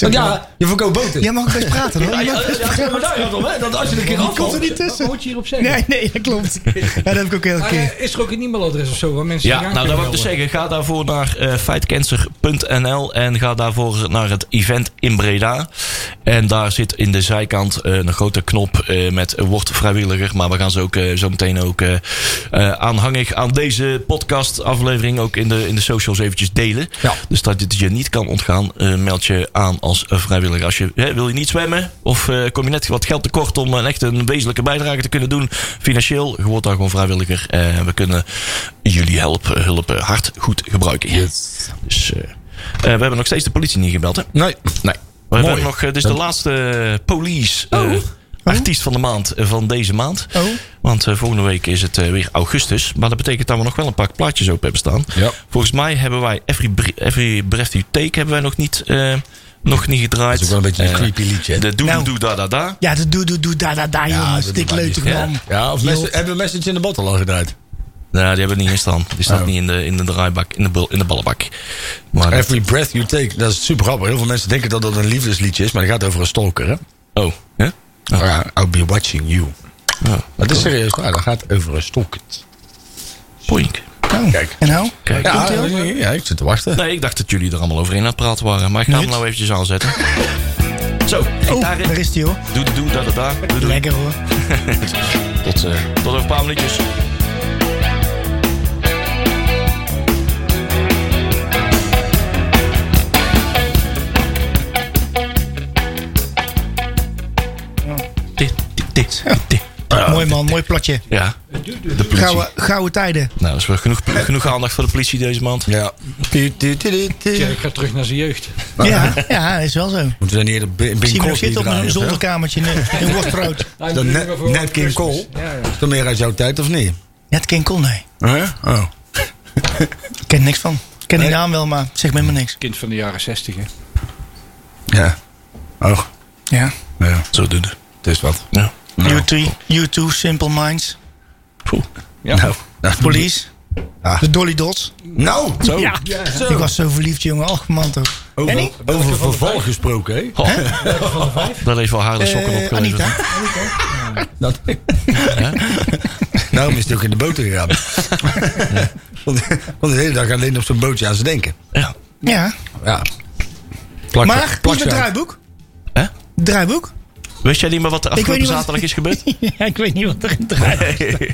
Speaker 3: Want ja, je verkoopt boten.
Speaker 4: Jij mag ook best praten hoor.
Speaker 2: Ja,
Speaker 4: Je
Speaker 2: ja,
Speaker 4: mag best
Speaker 2: ja,
Speaker 4: praten.
Speaker 3: maar daar gaat het om, hè? Dat als je er een keer
Speaker 4: Die komt er niet
Speaker 5: Wat
Speaker 4: tussen.
Speaker 5: moet je hierop zeggen?
Speaker 4: Nee, nee, dat klopt. Ja, dat heb ik ook heel
Speaker 5: Maar,
Speaker 4: keer.
Speaker 5: eh, is er ook een e-mailadres of zo waar mensen
Speaker 2: Ja,
Speaker 5: zich aan
Speaker 2: nou dat
Speaker 5: kunnen
Speaker 2: wil ik dus
Speaker 5: melden?
Speaker 2: zeggen. Ga daarvoor naar eh, fightcancer.nl en ga daarvoor naar het event in Breda. En daar zit in de zijkant eh, een grote knop eh, met Word vrijwilliger. Maar we gaan ze ook eh, zo meteen ook eh, eh, aanhangig aan deze podcast aflevering ook in de, in de socials eventjes delen.
Speaker 3: Ja.
Speaker 2: Dus dat het je niet kan ontgaan, eh, meld je aan als eh, vrijwilliger. Als je, hè, wil je niet zwemmen of eh, kom je net wat geld tekort om een echt een wezenlijke bijdrage te kunnen doen financieel, je wordt daar gewoon vrijwilliger. En we kunnen jullie help, hulp eh, hard goed gebruiken. Dus, eh, eh, we hebben nog steeds de politie niet gebeld, hè?
Speaker 3: Nee. nee.
Speaker 2: We
Speaker 3: Mooi.
Speaker 2: hebben nog, eh, dit is de laatste eh, police. eh, artiest van de maand eh, van deze maand.
Speaker 4: Oh.
Speaker 2: Want eh, volgende week is het eh, weer augustus. Maar dat betekent dat we nog wel een paar plaatjes open hebben staan.
Speaker 3: Ja.
Speaker 2: Volgens mij hebben wij Every, Bre- Every Breath You Take hebben wij nog niet, eh, nog niet gedraaid.
Speaker 3: Dat is ook wel een beetje een
Speaker 2: Eh,
Speaker 3: creepy liedje, hè?
Speaker 2: De doe
Speaker 4: Nou.
Speaker 2: doe da da da.
Speaker 4: Ja, dat doe, doe, doe, da, da, da, jongens.
Speaker 3: dat
Speaker 4: Dik
Speaker 3: doet mij
Speaker 4: leuk,
Speaker 3: niet.
Speaker 4: toch,
Speaker 2: Ja.
Speaker 4: man.
Speaker 3: Ja, of mes- hebben we Message in the Bottle al gedraaid?
Speaker 2: Nou, die hebben we niet in staan. Die staat
Speaker 3: Oh.
Speaker 2: niet in de, in de draaibak, in de, bul- in de ballenbak. Maar dat-
Speaker 3: Every Breath You Take, dat is super grappig. Heel veel mensen denken dat dat een liefdesliedje is, maar dat gaat over een stalker, hè?
Speaker 2: oh, hè?
Speaker 3: Oh ja, I'll be watching you.
Speaker 2: Oh,
Speaker 3: Dat is serieus waar, dat gaat over een stalker.
Speaker 2: poink.
Speaker 4: Oh.
Speaker 3: Kijk.
Speaker 4: En nou?
Speaker 2: Kijk.
Speaker 3: Ja, ja, ik zit te wachten.
Speaker 2: Nee, ik dacht dat jullie er allemaal overheen aan het praten waren. Maar ik ga hem
Speaker 4: Niet.
Speaker 2: nou eventjes aanzetten. Zo,
Speaker 4: Oh,
Speaker 2: gitaar in.
Speaker 4: daar is die, hoor.
Speaker 2: Doe, doe, doe, da, da, da. Doe, doe.
Speaker 4: Lekker, hoor.
Speaker 2: Tot, eh, tot over een paar minuutjes. Dit, dit, dit, dit.
Speaker 4: mooi, man. Mooi platje.
Speaker 2: Ja, de politie.
Speaker 4: Gouden, gouden tijden.
Speaker 2: Nou, dat is wel genoeg, genoeg aandacht voor de politie deze maand.
Speaker 3: Ja. Tu- tu- tu- tu- tu.
Speaker 5: Tjerk gaat terug naar zijn jeugd.
Speaker 4: Ja, ja, is wel zo.
Speaker 3: Moeten we dan hier de Bing
Speaker 4: Zie je nog
Speaker 3: Crosby
Speaker 4: zitten op een
Speaker 3: draaien, hè?
Speaker 4: zolderkamertje in, in Worstbrood.
Speaker 3: Dat net- net King Cole.
Speaker 5: Ja, ja.
Speaker 3: Is dat meer uit jouw tijd of niet?
Speaker 4: Net King Cole, nee.
Speaker 3: Huh? Oh.
Speaker 4: Ik ken er niks van. Ik ken die
Speaker 3: Nee?
Speaker 4: naam wel, maar zeg me helemaal niks.
Speaker 5: Kind van de jaren zestig, hè.
Speaker 3: Ja. Oh.
Speaker 4: Ja.
Speaker 3: Ja.
Speaker 2: Zo doen we.
Speaker 3: Het is wat.
Speaker 2: Ja.
Speaker 3: Nou.
Speaker 4: U2, U2, Simple Minds,
Speaker 2: Poeh.
Speaker 5: Ja.
Speaker 3: Nou.
Speaker 4: Police,
Speaker 3: Ah.
Speaker 4: de Dolly Dots.
Speaker 3: Nou. Zo.
Speaker 4: Ja.
Speaker 3: Zo.
Speaker 4: Ik was zo verliefd, jongen. Och, man toch. En
Speaker 3: Over,
Speaker 4: ik?
Speaker 3: over verval gesproken, hè?
Speaker 2: Oh, Daar heeft wel haar de sokken
Speaker 4: Eh,
Speaker 2: op
Speaker 4: Anita.
Speaker 3: Dat. Daarom is hij ook in de boter gegaan. Want want de hele dag alleen op zo'n bootje aan ze denken.
Speaker 2: Ja.
Speaker 4: Ja.
Speaker 3: Ja. Plak,
Speaker 4: Maar, hoe is het
Speaker 3: plakzaak.
Speaker 4: draaiboek?
Speaker 2: Hè?
Speaker 4: Draaiboek?
Speaker 2: Wist jij niet meer wat er
Speaker 4: weet
Speaker 2: afgelopen
Speaker 4: niet wat-
Speaker 2: zaterdag is gebeurd?
Speaker 4: ja, ik weet niet wat er in het draaiboek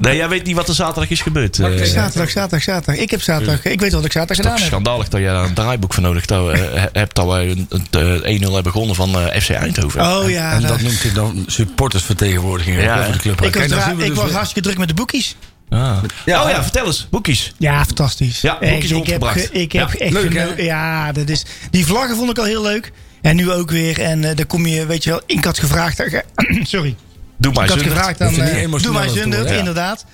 Speaker 2: nee, jij weet niet wat er zaterdag is gebeurd. Eh,
Speaker 4: is. Zaterdag, zaterdag, zaterdag. Ik heb zaterdag. Ik weet wat ik
Speaker 2: Het is
Speaker 4: zaterdag gedaan
Speaker 2: toch
Speaker 4: heb.
Speaker 2: schandalig dat je daar een draaiboek voor nodig dat we, eh, hebt. Dat wij een- een- eh, 1-0 hebben gewonnen van eh, FC Eindhoven.
Speaker 4: Oh ja,
Speaker 3: En
Speaker 4: dat-
Speaker 3: dat noemt hij dan supportersvertegenwoordiging.
Speaker 2: Ja,
Speaker 3: hè, voor de club.
Speaker 4: ik was,
Speaker 3: Kijk, nou
Speaker 4: dra-
Speaker 3: zien we
Speaker 4: ik
Speaker 3: dus
Speaker 4: was
Speaker 3: wat-
Speaker 4: hartstikke druk met de boekies.
Speaker 2: Ah.
Speaker 3: Ja.
Speaker 2: oh ja, vertel eens. Boekies.
Speaker 4: Ja, fantastisch.
Speaker 2: Ja, boekjes
Speaker 4: Echt, ik heb,
Speaker 2: rondgebracht.
Speaker 4: ge- ik heb
Speaker 2: Ja,
Speaker 4: echt
Speaker 3: leuk,
Speaker 4: geno-
Speaker 3: hè?
Speaker 4: Ja, dat is, die vlaggen vond ik al heel leuk. En nu ook weer. En eh, daar kom je, weet je wel, ik had gevraagd. sorry.
Speaker 2: Doe maar
Speaker 4: Ik had
Speaker 2: eens.
Speaker 4: gevraagd aan
Speaker 3: Dat vind ik
Speaker 4: eh,
Speaker 3: emotioneel
Speaker 4: Doe maar
Speaker 3: aan het
Speaker 4: Zundert,
Speaker 3: worden, ja.
Speaker 4: inderdaad.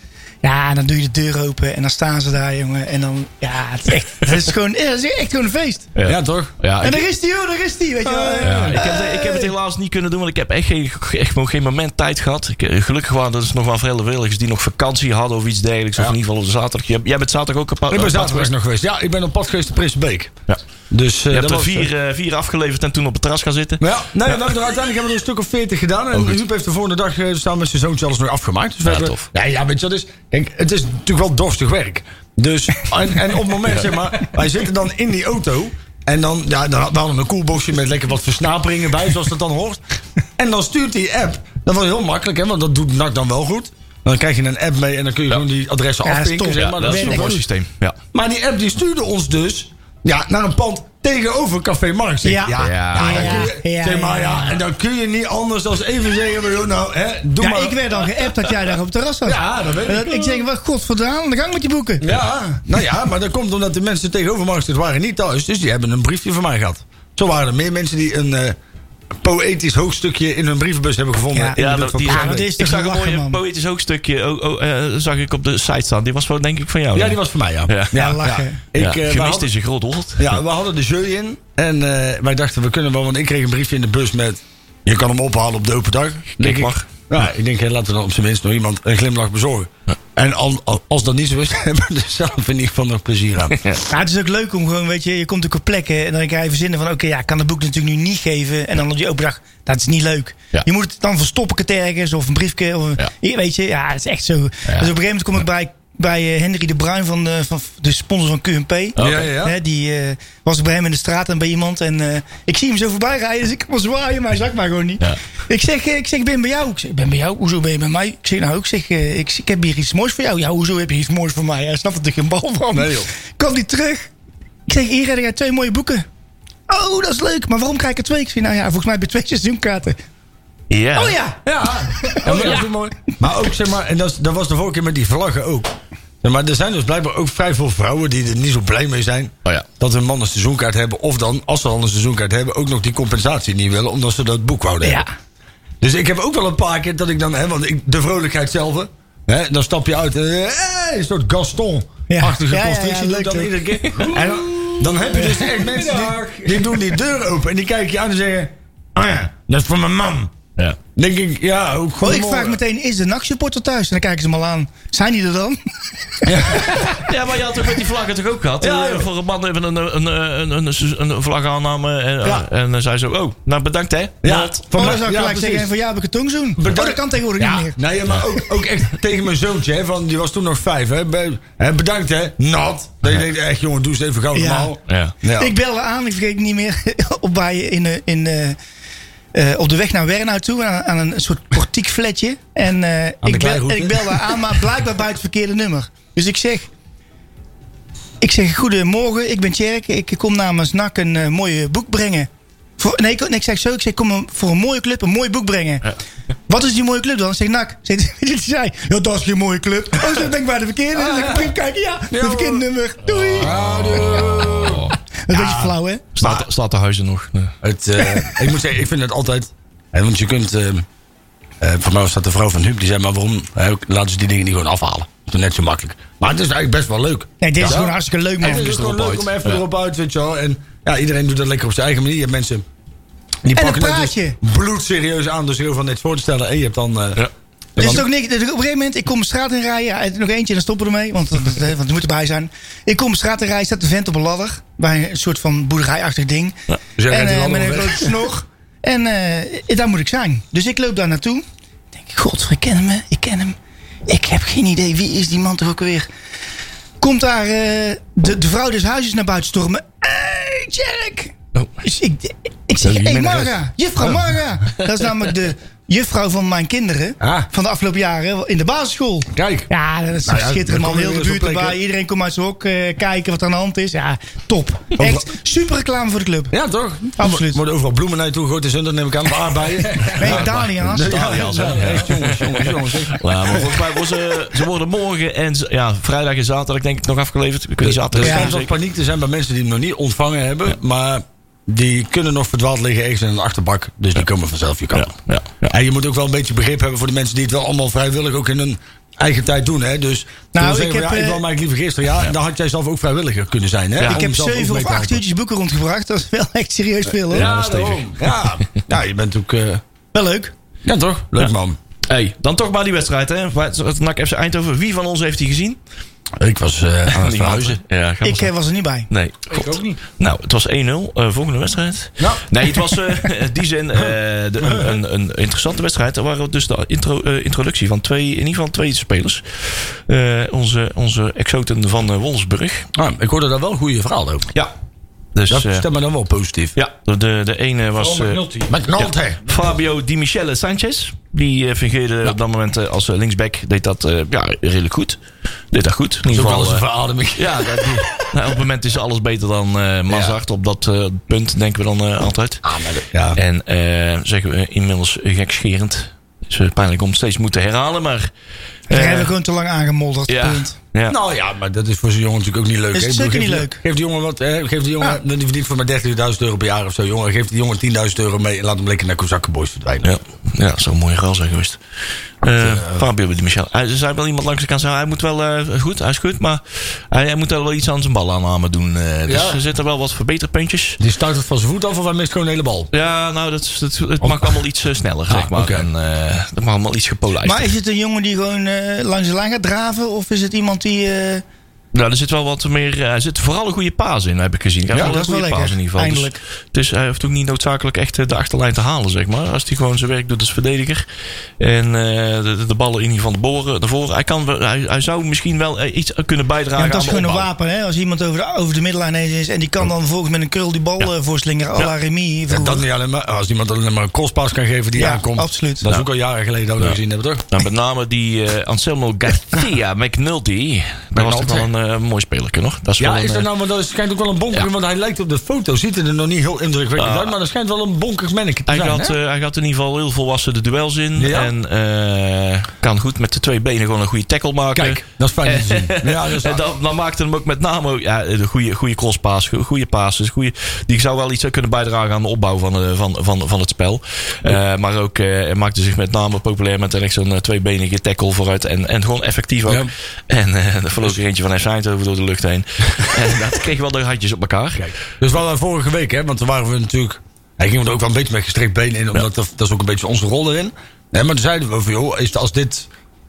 Speaker 4: Ja, en dan doe je de deur open en dan staan ze daar, jongen. En dan, ja, het is echt, het is gewoon, het is echt gewoon een feest.
Speaker 3: Ja, toch?
Speaker 2: Ja,
Speaker 4: En
Speaker 2: ik,
Speaker 4: daar is die, hoor, daar is die, weet je wel.
Speaker 2: ja, ik, heb, de- ik heb het helaas niet kunnen doen, want ik heb echt geen, echt nog geen moment tijd gehad. Ik, eh, gelukkig waren er dus nog wel vrijwilligers die nog vakantie hadden of iets dergelijks. Of
Speaker 3: Ja.
Speaker 2: in ieder geval op de zaterdag. Jij, jij bent zaterdag ook eh, een paar.
Speaker 3: Ik ben
Speaker 2: een paar
Speaker 3: zaterdag nog geweest. Ja, ik ben op pad geweest naar Prinsenbeek.
Speaker 2: Ja.
Speaker 3: Dus,
Speaker 2: Je
Speaker 3: eh, dat
Speaker 2: hebt er
Speaker 3: was-
Speaker 2: vier, eh, vier afgeleverd en toen op het terras gaan zitten.
Speaker 3: Maar ja, nee, we hebben er uiteindelijk hebben we er een stuk of 40 gedaan. En
Speaker 2: goed.
Speaker 3: Huub heeft de volgende dag eh, samen met zijn zoontje alles nog afgemaakt. Dus we
Speaker 2: Ja,
Speaker 3: hebben,
Speaker 2: tof.
Speaker 3: Ja, ja, weet je wat is? Kijk, het is natuurlijk wel dorstig werk. Dus, en, en op het moment, zeg maar, wij zitten dan in die auto. En dan, ja, dan hadden we hadden een koelboxje met lekker wat versnaperingen bij, zoals dat dan hoort. En dan stuurt die app. Dat was heel makkelijk, hè, want dat doet NAC dan wel goed. Dan krijg je een app mee en dan kun je gewoon die adressen
Speaker 4: Ja, dat is
Speaker 3: afpinken.
Speaker 4: top.
Speaker 3: Zeg
Speaker 2: Ja,
Speaker 3: maar.
Speaker 2: dat is een mooi systeem. Ja.
Speaker 3: Maar die app die stuurde ons dus ja, naar een pand tegenover Café Marx. Zeg ik,
Speaker 4: Ja.
Speaker 3: ja,
Speaker 4: Ja,
Speaker 3: dan kun je-
Speaker 4: ja,
Speaker 3: zeg maar,
Speaker 4: ja,
Speaker 3: ja, En dan kun je niet anders dan even zeggen, maar, joh, nou, hè, doe
Speaker 4: Ja,
Speaker 3: maar.
Speaker 4: ik werd dan geappt dat jij daar op het terras was.
Speaker 3: Ja, dat weet
Speaker 4: En
Speaker 3: ik.
Speaker 4: Ik zeg, wat godverdomme, aan de gang met je boeken.
Speaker 3: Ja, nou ja, maar dat komt omdat de mensen tegenover Marx dit waren niet thuis. Dus die hebben een briefje van mij gehad. Zo waren er meer mensen die een eh, poëtisch hoofdstukje in hun brievenbus hebben gevonden.
Speaker 4: Ja.
Speaker 3: in de buurt van Ah,
Speaker 2: die-
Speaker 4: ja,
Speaker 3: Prinsenbeek.
Speaker 4: dat is
Speaker 2: ik
Speaker 4: toch
Speaker 2: zag een
Speaker 4: lachen,
Speaker 2: mooi
Speaker 4: man.
Speaker 2: poëtisch hoofdstukje, ook- ook, eh, zag ik op de site staan. Die was wel denk ik van jou.
Speaker 3: ja,
Speaker 2: hè?
Speaker 3: die was voor mij, ja.
Speaker 2: Ja.
Speaker 4: Ja, lachen.
Speaker 3: Ik,
Speaker 2: Ja,
Speaker 3: eh, we
Speaker 2: gemist
Speaker 3: hadden-
Speaker 2: is een groot hond.
Speaker 3: Ja, we hadden de jeu in. En eh, wij dachten, we kunnen wel. Want ik kreeg een briefje in de bus met... Je kan hem ophalen op de open dag. Denk
Speaker 2: mag.
Speaker 3: Ja, ik denk, hé, laten we dan op zijn minst nog iemand een glimlach bezorgen. En al- al- als dat niet zo is, hebben we er zelf in ieder geval nog plezier aan.
Speaker 4: Ja, het is ook leuk om gewoon, weet je, je komt ook op plekken en dan ga je verzinnen van, oké, ja, ik kan het boek natuurlijk nu niet geven. En dan op die open dag, dat is niet leuk.
Speaker 2: Ja.
Speaker 4: Je moet het dan verstoppen het ergens of een briefje. Of,
Speaker 2: Ja.
Speaker 4: je- Weet je, ja, dat is echt zo. Dus op een gegeven moment kom ik bij, bij eh, Henry de Bruin, van de, van de sponsor van QMP.
Speaker 3: Ja, ja, ja.
Speaker 4: Hè, die eh, was ik bij hem in de straat en bij iemand. En eh, ik zie hem zo voorbij rijden, dus ik kan wel zwaaien, maar hij zag mij gewoon niet.
Speaker 2: Ja.
Speaker 4: Ik, zeg, eh, ik zeg, ik ben bij jou. Ik zeg, ik ben bij jou? Hoezo ben je bij mij? Ik zeg, nou, ik, zeg, eh, ik, ik heb hier iets moois voor jou. Ja, hoezo heb je iets moois voor mij? Hij snapt er geen bal van.
Speaker 3: Nee, joh.
Speaker 4: Kwam die terug. Ik zeg, hier heb jij twee mooie boeken. Oh, dat is leuk. Maar waarom krijg ik er twee? Ik zeg, nou ja, volgens mij heb je twee seizoenkaarten.
Speaker 2: Ja.
Speaker 4: Oh ja.
Speaker 3: Ja, ja, maar dat is ook mooi. Maar ook, zeg maar, en dat, is- dat was de vorige keer met die vlaggen ook. Zeg maar er zijn dus blijkbaar ook vrij veel vrouwen die er niet zo blij mee zijn.
Speaker 2: Oh ja.
Speaker 3: Dat hun mannen een seizoenkaart hebben. Of dan, als ze al een seizoenkaart hebben, ook nog die compensatie niet willen. Omdat ze dat boek wouden
Speaker 4: Ja.
Speaker 3: hebben. Dus ik heb ook wel een paar keer dat ik dan, hè, want ik, de vrolijkheid zelf, hè, dan stap je uit, eh, hey, een soort Gaston-achtige
Speaker 4: Ja, ja, ja,
Speaker 3: constructie. doe
Speaker 4: leuk,
Speaker 3: dan
Speaker 4: leuk.
Speaker 3: iedere keer. En dan, dan heb je dus echt mensen die, die doen die deur open en die kijken je aan en zeggen: Ah ja, dat is voor mijn mam.
Speaker 2: Ja.
Speaker 3: Denk ik, ja, ook
Speaker 4: Oh,
Speaker 3: goed.
Speaker 4: ik vraag meteen, is de nachtsupporter thuis? En dan kijken ze hem al aan. Zijn die er dan?
Speaker 2: Ja, maar je had toch met die vlaggen toch ook gehad?
Speaker 3: Ja,
Speaker 2: Eh,
Speaker 3: joh.
Speaker 2: voor een man even een, een, een, een, een, een vlag aannamen. En,
Speaker 3: Ja.
Speaker 2: en dan zei ze, oh, nou bedankt hè.
Speaker 3: Ja,
Speaker 2: Want-
Speaker 3: van
Speaker 4: Oh,
Speaker 3: mij-
Speaker 4: dan zou ik
Speaker 3: ja,
Speaker 4: gelijk
Speaker 3: precies.
Speaker 4: zeggen, van ja, heb ik een tongzoen. Oh, dat kan tegenwoordig
Speaker 3: ja,
Speaker 4: niet meer.
Speaker 3: Nou ja, maar ook, ook echt tegen mijn zoontje, hè, van, die was toen nog vijf. Hè, Be- hè, bedankt, hè. Nat. Dat je denkt, echt jongen, doe eens even gauw
Speaker 4: Ja.
Speaker 3: normaal.
Speaker 2: Ja.
Speaker 4: Ik belde aan, ik vergeet niet meer, op, bij, in, eh, in, eh, eh, op de weg naar Wernhout toe, aan, aan een soort portiekfletje. En eh, ik, bel,
Speaker 3: kleine
Speaker 4: en ik
Speaker 3: route.
Speaker 4: belde aan, maar blijkbaar bij het verkeerde nummer. Dus ik zeg, ik zeg goedemorgen, ik ben Tjerk, ik kom namens NAC een eh, mooie boek brengen. Voor, nee, ik, nee, ik zeg zo, ik zeg, kom een- voor een mooie club een mooi boek brengen.
Speaker 2: Ja.
Speaker 4: Wat is die mooie club dan? Ik Zeg NAC. Zegt die zei, ja, dat is geen mooie club. Oh, zo ben ik bij de verkeerde. Dan zeg ik, kijk, ja, de verkeerde nummer. Doei.
Speaker 2: Ah.
Speaker 4: Een beetje flauw, hè?
Speaker 2: Staat, staat de huizen nog. Nee.
Speaker 3: Het, eh, ik moet zeggen, ik vind het altijd. hè, want je kunt. eh, eh, voor mij was dat de vrouw van Huub die zei: maar waarom hè, laten ze die dingen niet gewoon afhalen? Dat is net zo makkelijk. Maar het is eigenlijk best wel leuk.
Speaker 4: Nee, dit is
Speaker 3: Ja.
Speaker 4: gewoon hartstikke leuk,
Speaker 3: het
Speaker 4: man.
Speaker 3: is gewoon
Speaker 2: erop
Speaker 3: leuk
Speaker 2: uit.
Speaker 3: om even
Speaker 2: Ja.
Speaker 3: erop uit, weet je wel. En ja, iedereen doet dat lekker op zijn eigen manier. Je hebt mensen die
Speaker 4: dan
Speaker 3: pakken
Speaker 4: praat
Speaker 3: het
Speaker 4: je.
Speaker 3: dus bloedserieus aan door zich heel van niks voor te stellen. En je hebt dan... eh,
Speaker 2: Ja.
Speaker 4: Dit is
Speaker 3: want-
Speaker 4: toch niks. Dit is Op een gegeven moment, ik kom de straat in rijden. Ja, en nog eentje, dan stoppen we ermee. Want, dat- dat- want het moet erbij zijn. Ik kom de straat in rijden, staat de vent op een ladder. Bij een soort van boerderijachtig ding.
Speaker 3: dus jij
Speaker 4: en
Speaker 3: rijdt die
Speaker 4: eh,
Speaker 3: ladder
Speaker 4: met een
Speaker 3: wel
Speaker 4: grote snor. En eh, daar moet ik zijn. Dus ik loop daar naartoe. Ik denk, god, ik ken hem, hè? ik ken hem. Ik heb geen idee, wie is die man toch ook weer? Komt daar eh, de, de vrouw des huizes naar buiten stormen. Hé, hey, Jerk!
Speaker 3: Oh.
Speaker 4: Dus ik, ik zeg, hé, hey, Marga, juffrouw Marga. Dat is namelijk de juffrouw van mijn kinderen.
Speaker 3: Ah.
Speaker 4: Van de afgelopen jaren in de basisschool.
Speaker 3: Kijk.
Speaker 4: Ja, dat is
Speaker 3: Nou ja,
Speaker 4: schitterend,
Speaker 3: daar
Speaker 4: man.
Speaker 3: kom je
Speaker 4: Heel de
Speaker 3: weer eens
Speaker 4: buurt
Speaker 3: op plekken.
Speaker 4: erbij. Iedereen komt uit zijn hok eh, kijken wat er aan de hand is. Ja, top. Echt super reclame voor de club.
Speaker 3: Ja, toch?
Speaker 4: Absoluut.
Speaker 3: Er worden overal bloemen naar je toe gegooid. En zonder neem ik aan. Of aardbeien.
Speaker 4: Nee, Daniel.
Speaker 3: Ja, ja, echt, jongens, jongens, jongens. echt.
Speaker 2: Ja, maar volgens mij worden ze worden morgen en z- ja, vrijdag en zaterdag denk ik nog afgeleverd. Ik weet niet
Speaker 3: Er
Speaker 2: zaterdag.
Speaker 4: Ja.
Speaker 3: schijnt
Speaker 2: zeker.
Speaker 3: wat paniek te zijn bij mensen die hem nog niet ontvangen hebben. Maar die kunnen nog verdwaald liggen ergens in een achterbak. Dus die komen vanzelf je kant
Speaker 2: Ja,
Speaker 3: op.
Speaker 2: ja, ja.
Speaker 3: En je moet ook wel een beetje begrip hebben voor de mensen die het wel allemaal vrijwillig ook in hun eigen tijd doen. Hè? Dus
Speaker 4: Nou,
Speaker 3: nou,
Speaker 4: ik
Speaker 3: zeggen, ik,
Speaker 4: heb,
Speaker 3: ja, ik
Speaker 4: eh,
Speaker 3: wil maar liever gisteren. Ja, dan had jij zelf ook vrijwilliger kunnen zijn. Hè?
Speaker 2: Ja.
Speaker 3: Om
Speaker 4: Ik heb
Speaker 3: zelf ook
Speaker 4: zeven
Speaker 3: mee
Speaker 4: of
Speaker 3: te
Speaker 4: acht
Speaker 3: helpen.
Speaker 4: uurtjes boeken rondgebracht. Dat is wel echt serieus veel hoor.
Speaker 3: Ja,
Speaker 2: dat is
Speaker 3: daarom. ja. ja, je bent ook... eh,
Speaker 4: Wel leuk.
Speaker 3: ja toch? Leuk man.
Speaker 2: Hey, dan toch maar die wedstrijd hè. Wa- Het NAC FC Eindhoven. Wie van ons heeft die gezien?
Speaker 3: Ik was eh, aan het verhuizen.
Speaker 2: Ja, ga maar
Speaker 4: Ik eh, was er niet bij.
Speaker 2: Nee.
Speaker 5: Ik ook niet.
Speaker 2: Nou, het was 1-0. eh, volgende wedstrijd.
Speaker 3: Nou.
Speaker 2: Nee, het was eh, in die zin eh, de- een, een, een interessante wedstrijd. Er waren dus de intro, eh, introductie van twee, in ieder geval twee spelers. Eh, onze, onze exoten van eh, Wolfsburg.
Speaker 3: Ah, ik hoorde daar wel een goede verhaal over.
Speaker 2: Ja. Dus,
Speaker 3: Dat
Speaker 2: eh,
Speaker 3: stemt me dan wel positief.
Speaker 2: ja, de, de ene was...
Speaker 5: Paul
Speaker 2: eh,
Speaker 5: McNulty.
Speaker 3: Met Nalte.
Speaker 2: Fabio Di Michele Sanchez. Die eh, fungeerde op dat moment eh, als eh, linksback. Deed dat eh, ja, redelijk goed. Deed dat goed. In
Speaker 3: Dat is
Speaker 2: ieder
Speaker 3: ook wel
Speaker 2: geval.
Speaker 3: eens een
Speaker 2: eh,
Speaker 3: verademing.
Speaker 2: ja, dat, nou, op het moment is alles beter dan eh Mazart. Op dat eh, punt denken we dan eh, altijd.
Speaker 3: Ah, Ja.
Speaker 2: En eh, zeggen we inmiddels gekscherend. Het is eh, pijnlijk om het steeds moeten herhalen, maar... eh,
Speaker 4: Daar hebben we gewoon te lang aangemodderd.
Speaker 2: ja,
Speaker 4: Punt.
Speaker 2: ja.
Speaker 3: Nou ja, maar dat is voor zo'n jongen natuurlijk ook niet leuk.
Speaker 4: Is
Speaker 3: hè?
Speaker 4: het
Speaker 3: Ik bedoel,
Speaker 4: zeker
Speaker 3: geef
Speaker 4: niet
Speaker 3: die-
Speaker 4: leef.
Speaker 3: Geef die jongen wat, hè? geef die jongen, die verdient voor maar 30.000 euro per jaar of zo. Jongen, geef die jongen 10.000 euro mee en laat hem lekker naar Kozakkenboys verdwijnen.
Speaker 2: Ja, ja, dat zou een mooie ruil zijn geweest. Eh, Fabio Di Michel. Hij, er zei wel iemand langs de kant, zei, hij moet wel eh, goed, hij is goed, maar hij, hij moet wel wel iets aan zijn balaanname doen. eh. dus
Speaker 3: Ja.
Speaker 2: er zitten wel wat verbeterpuntjes.
Speaker 3: Die stuit het van zijn voet af of hij mist gewoon een hele bal?
Speaker 2: Ja, nou, dat, is- dat, het mag allemaal iets eh, sneller, zeg maar.
Speaker 3: oké.
Speaker 2: En, eh, dat mag allemaal iets gepolijster.
Speaker 4: Ah, Maar is het een jongen die gewoon eh, langs de lijn gaat draven? Of is het iemand die... eh,
Speaker 2: Nou, er zit wel wat meer. eh, Er zit vooral een goede paas in, heb ik gezien. Ja,
Speaker 4: dat is wel lekker.
Speaker 2: paas in ieder geval.
Speaker 4: Eindelijk.
Speaker 2: Dus, dus hij hoeft ook niet noodzakelijk echt eh, de achterlijn te halen, zeg maar. Als hij gewoon zijn werk doet als verdediger. En eh, de, de ballen in ieder geval de boren, ervoor. Hij, kan, wel- hij, hij zou misschien wel eh, iets kunnen
Speaker 4: ja,
Speaker 2: bijdragen.
Speaker 4: dat is
Speaker 2: aan de
Speaker 4: gewoon een
Speaker 2: opbouw.
Speaker 4: wapen. Hè? Als iemand over de, over de middenlijn heen is... en die kan dan vervolgens met een curl die bal eh, voorslingeren. à la Remy
Speaker 3: Ja,
Speaker 4: vroeger.
Speaker 3: dat niet alleen maar. Als iemand alleen maar een crosspas kan geven die
Speaker 4: Ja,
Speaker 3: aankomt.
Speaker 4: absoluut.
Speaker 3: Dat is
Speaker 4: Ja.
Speaker 3: ook al jaren geleden dat we dat gezien hebben, toch?
Speaker 2: Nou, met name die eh, Anselmo Garcia McNulty. Dat was toch wel een eh, een mooi spelerke nog. Dat is
Speaker 3: Ja,
Speaker 2: wel
Speaker 3: is
Speaker 2: een,
Speaker 3: dat
Speaker 2: eh,
Speaker 3: nou, maar dat is- schijnt ook wel een bonker.
Speaker 2: Ja.
Speaker 3: Want hij lijkt op de foto, ziet er nog niet heel indrukwekkend
Speaker 2: Ah.
Speaker 3: uit. Maar dat schijnt wel een bonkig manneke te
Speaker 2: Hij
Speaker 3: zijn.
Speaker 2: gaat,
Speaker 3: hè?
Speaker 2: eh, hij gaat in ieder geval heel volwassen de duels in.
Speaker 3: Ja.
Speaker 2: En eh, kan goed met de twee benen gewoon een goede tackle maken.
Speaker 4: eh,
Speaker 3: Kijk, dat is fijn om te zien. Ja, dat
Speaker 5: Dus
Speaker 3: is
Speaker 2: En
Speaker 3: waar.
Speaker 2: dan, dan maakte hem ook met name ja, de goede, goede crosspaas, go- goede passes. Goede, die zou wel iets kunnen bijdragen aan de opbouw van, eh, van, van, van het spel. Eh, maar ook eh, hij maakte zich met name populair met echt zo'n eh, tweebenige tackle vooruit. En, en gewoon effectief ook.
Speaker 3: Ja.
Speaker 2: En eh er vloog er eentje van FC Eindhoven door de lucht heen. en dat kreeg wel de handjes op elkaar.
Speaker 3: Dus wel vorige week, hè? Want toen waren we natuurlijk. Hij ging er ook wel een beetje met gestrekt been in, omdat dat, dat is ook een beetje onze rol erin. Nee, maar toen zeiden we van, joh, is, als dit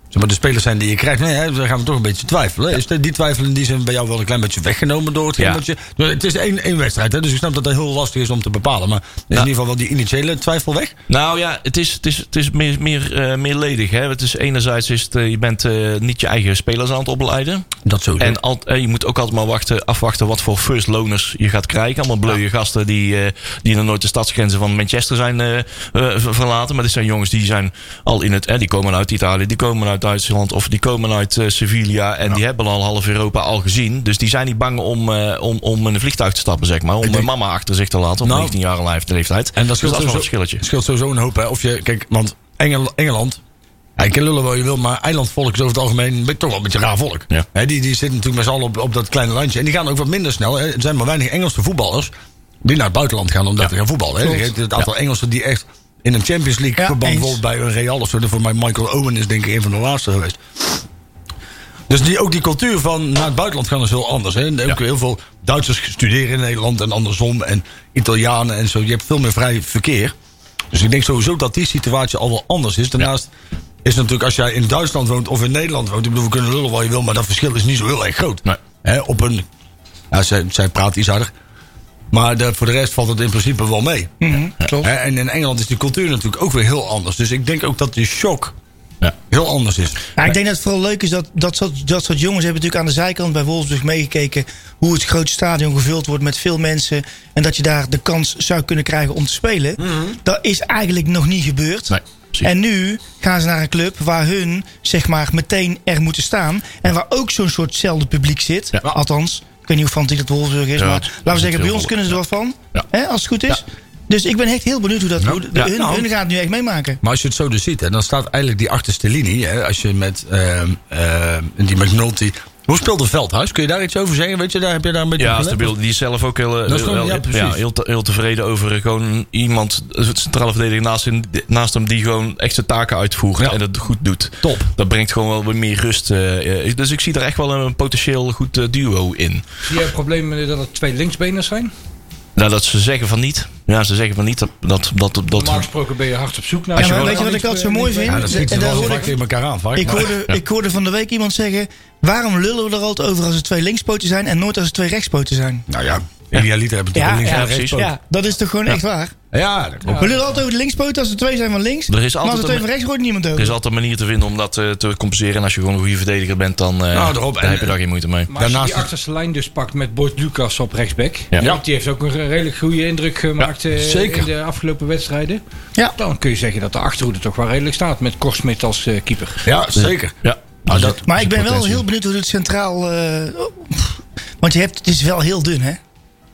Speaker 3: zeg maar, de spelers zijn die je krijgt, nee, hè, dan gaan we toch een beetje twijfelen. Is de- die twijfelen die zijn bij jou wel een klein beetje weggenomen door het
Speaker 2: Ja.
Speaker 3: wat je- dus Het is één, één wedstrijd, hè, dus ik snap dat dat heel lastig is om te bepalen. Maar is in ieder geval wel die initiële twijfel weg.
Speaker 2: Nou ja, het is, het is, het is meer, meer, eh, meerledig. Hè? Het is enerzijds is het, eh, je bent eh, niet je eigen spelers aan het opleiden.
Speaker 3: Dat zo.
Speaker 2: En al, eh, je moet ook altijd maar wachten, afwachten wat voor first loners je gaat krijgen. Allemaal bleuwe gasten die, eh, die nog nooit de stadsgrenzen van Manchester zijn eh, eh, ver- verlaten. Maar dit zijn jongens die zijn al in het. eh, die komen uit Italië, die komen uit Duitsland of die komen uit eh, Sevilla. En die hebben al half Europa al gezien. Dus die zijn niet bang om, eh, om, om in een vliegtuig te stappen, zeg maar. Om
Speaker 3: denk-
Speaker 2: hun mama achter zich te laten. Op
Speaker 3: Nou,
Speaker 2: 19 jaar leef- leeftijd.
Speaker 3: En dat
Speaker 2: Dus dat is
Speaker 3: scheelt,
Speaker 2: wel een
Speaker 3: sowieso,
Speaker 2: verschilletje.
Speaker 3: scheelt sowieso een hoop. Hè? Of je, kijk, want Engel, Engeland. Ja, je kan lullen wel je wil, maar eilandvolk is over het algemeen be- toch wel een beetje raar volk.
Speaker 2: Ja.
Speaker 3: Hè, die, die zitten natuurlijk met z'n allen op, op dat kleine landje. En die gaan ook wat minder snel. Hè. Er zijn maar weinig Engelse voetballers die naar het buitenland gaan om daar te gaan voetballen. Hè. Je hebt Het aantal Engelsen die echt in een Champions League
Speaker 4: Ja,
Speaker 3: verband
Speaker 4: eens.
Speaker 3: bijvoorbeeld bij een Real of zo. Voor mij Michael Owen is denk ik een van de laatste geweest. Dus die, ook die cultuur van naar het buitenland gaan is heel anders. Hè? En Ook heel veel Duitsers studeren in Nederland en andersom. En Italianen en zo. Je hebt veel meer vrij verkeer. Dus ik denk sowieso dat die situatie al wel anders is. Daarnaast is natuurlijk als jij in Duitsland woont of in Nederland woont. Ik bedoel, we kunnen lullen wat je wil, maar dat verschil is niet zo heel erg groot.
Speaker 2: Nee.
Speaker 3: Hè? Op een, ja, zij, zij praat iets harder. Maar de- voor de rest valt het in principe wel mee.
Speaker 2: Hm.
Speaker 4: Klopt.
Speaker 3: Hè, En in Engeland is die cultuur natuurlijk ook weer heel anders. Dus ik denk ook dat die shock
Speaker 2: Ja.
Speaker 3: heel anders is.
Speaker 4: Ja, ik denk dat het vooral leuk is dat dat soort, dat soort jongens hebben natuurlijk aan de zijkant bij Wolfsburg meegekeken hoe het grote stadion gevuld wordt met veel mensen en dat je daar de kans zou kunnen krijgen om te spelen. Dat is eigenlijk nog niet gebeurd.
Speaker 2: Mhm. Nee, precies.
Speaker 4: en nu gaan ze naar een club waar hun zeg maar meteen er moeten staan en waar ook zo'n soortzelfde publiek zit.
Speaker 2: Ja.
Speaker 4: Althans, ik weet niet hoe fantiek dat Wolfsburg is,
Speaker 2: Ja,
Speaker 4: maar
Speaker 2: het- het
Speaker 4: laten
Speaker 2: is
Speaker 4: we zeggen bij
Speaker 2: heel
Speaker 4: ons kunnen ze er wat van,
Speaker 2: Ja.
Speaker 4: hè, als het goed is. Dus ik ben echt heel benieuwd hoe dat hoe de-
Speaker 3: Ja,
Speaker 4: hun,
Speaker 3: nou.
Speaker 4: hun gaat het nu echt meemaken.
Speaker 3: Maar als je het zo dus ziet, hè, dan staat eigenlijk die achterste linie. Hè, als je met ehm, ehm, die McNulty. Hoe speelde Veldhuis? Kun je daar iets over zeggen? Weet je, daar heb je daar een beetje. op
Speaker 2: Ja,
Speaker 3: gelet?
Speaker 2: stabiel. Die is zelf ook heel,
Speaker 3: Dat is
Speaker 2: heel,
Speaker 3: gewoon- ja,
Speaker 2: heel-
Speaker 3: precies.
Speaker 2: ja, heel, te- heel tevreden over eh, gewoon iemand, een centrale verdediger naast hem, naast hem die gewoon echt zijn taken uitvoert
Speaker 3: Ja.
Speaker 2: en dat goed doet.
Speaker 3: Top.
Speaker 2: Dat brengt gewoon wel weer meer rust. eh, eh, dus ik zie er echt wel een potentieel goed eh, duo in.
Speaker 5: Zie je problemen dat het twee linksbeners zijn?
Speaker 2: Nou, dat ze zeggen van niet. Ja, ze zeggen van niet. Dat, dat, dat, dat,
Speaker 5: Normaal gesproken ben je hard op zoek naar...
Speaker 4: Ja,
Speaker 5: een
Speaker 4: maar weet je wat ik altijd zo
Speaker 5: eh,
Speaker 4: mooi vind?
Speaker 3: Ja, dat schiet
Speaker 4: En daar
Speaker 3: er wel zo
Speaker 4: hoor
Speaker 3: vaak
Speaker 4: ik-
Speaker 3: tegen elkaar aan. Vaak,
Speaker 4: Ik
Speaker 3: maar-
Speaker 4: hoorde, ik hoorde van de week iemand zeggen... waarom lullen we er altijd over als er twee linkspoten zijn... en nooit als er twee rechtspoten zijn?
Speaker 3: Nou ja, idealiter hebben het natuurlijk
Speaker 2: ja,
Speaker 3: links en
Speaker 2: precies.
Speaker 3: rechts. ook.
Speaker 4: dat is toch gewoon echt waar?
Speaker 3: Ja, dat klopt.
Speaker 4: We lullen altijd over de linkspoten als er twee zijn van links...
Speaker 2: Er is
Speaker 4: maar als
Speaker 2: altijd
Speaker 4: er twee
Speaker 2: een-
Speaker 4: van rechts gooit niemand
Speaker 2: er is
Speaker 4: dood.
Speaker 2: altijd een manier te vinden om dat eh, te compenseren. En als je gewoon een goede verdediger bent, dan eh,
Speaker 3: Nou, daarop.
Speaker 2: daar heb je
Speaker 3: En-
Speaker 2: daar geen moeite mee.
Speaker 5: Maar als je
Speaker 3: Daarnaast-
Speaker 5: die achterste lijn dus pakt met Boyd Lucas op rechtsback.
Speaker 2: Ja.
Speaker 5: want Die heeft ook een redelijk goede indruk gemaakt eh,
Speaker 3: zeker.
Speaker 5: in de afgelopen wedstrijden.
Speaker 4: Ja.
Speaker 5: Dan kun je zeggen dat de achterhoede toch wel redelijk staat met Korsmit als eh, keeper.
Speaker 3: Ja, zeker.
Speaker 2: Ja.
Speaker 3: Nou, dat-
Speaker 4: Maar ik ben wel
Speaker 3: potentie.
Speaker 4: heel benieuwd hoe het centraal... eh, oh, pff, want je hebt, het is wel heel dun, hè?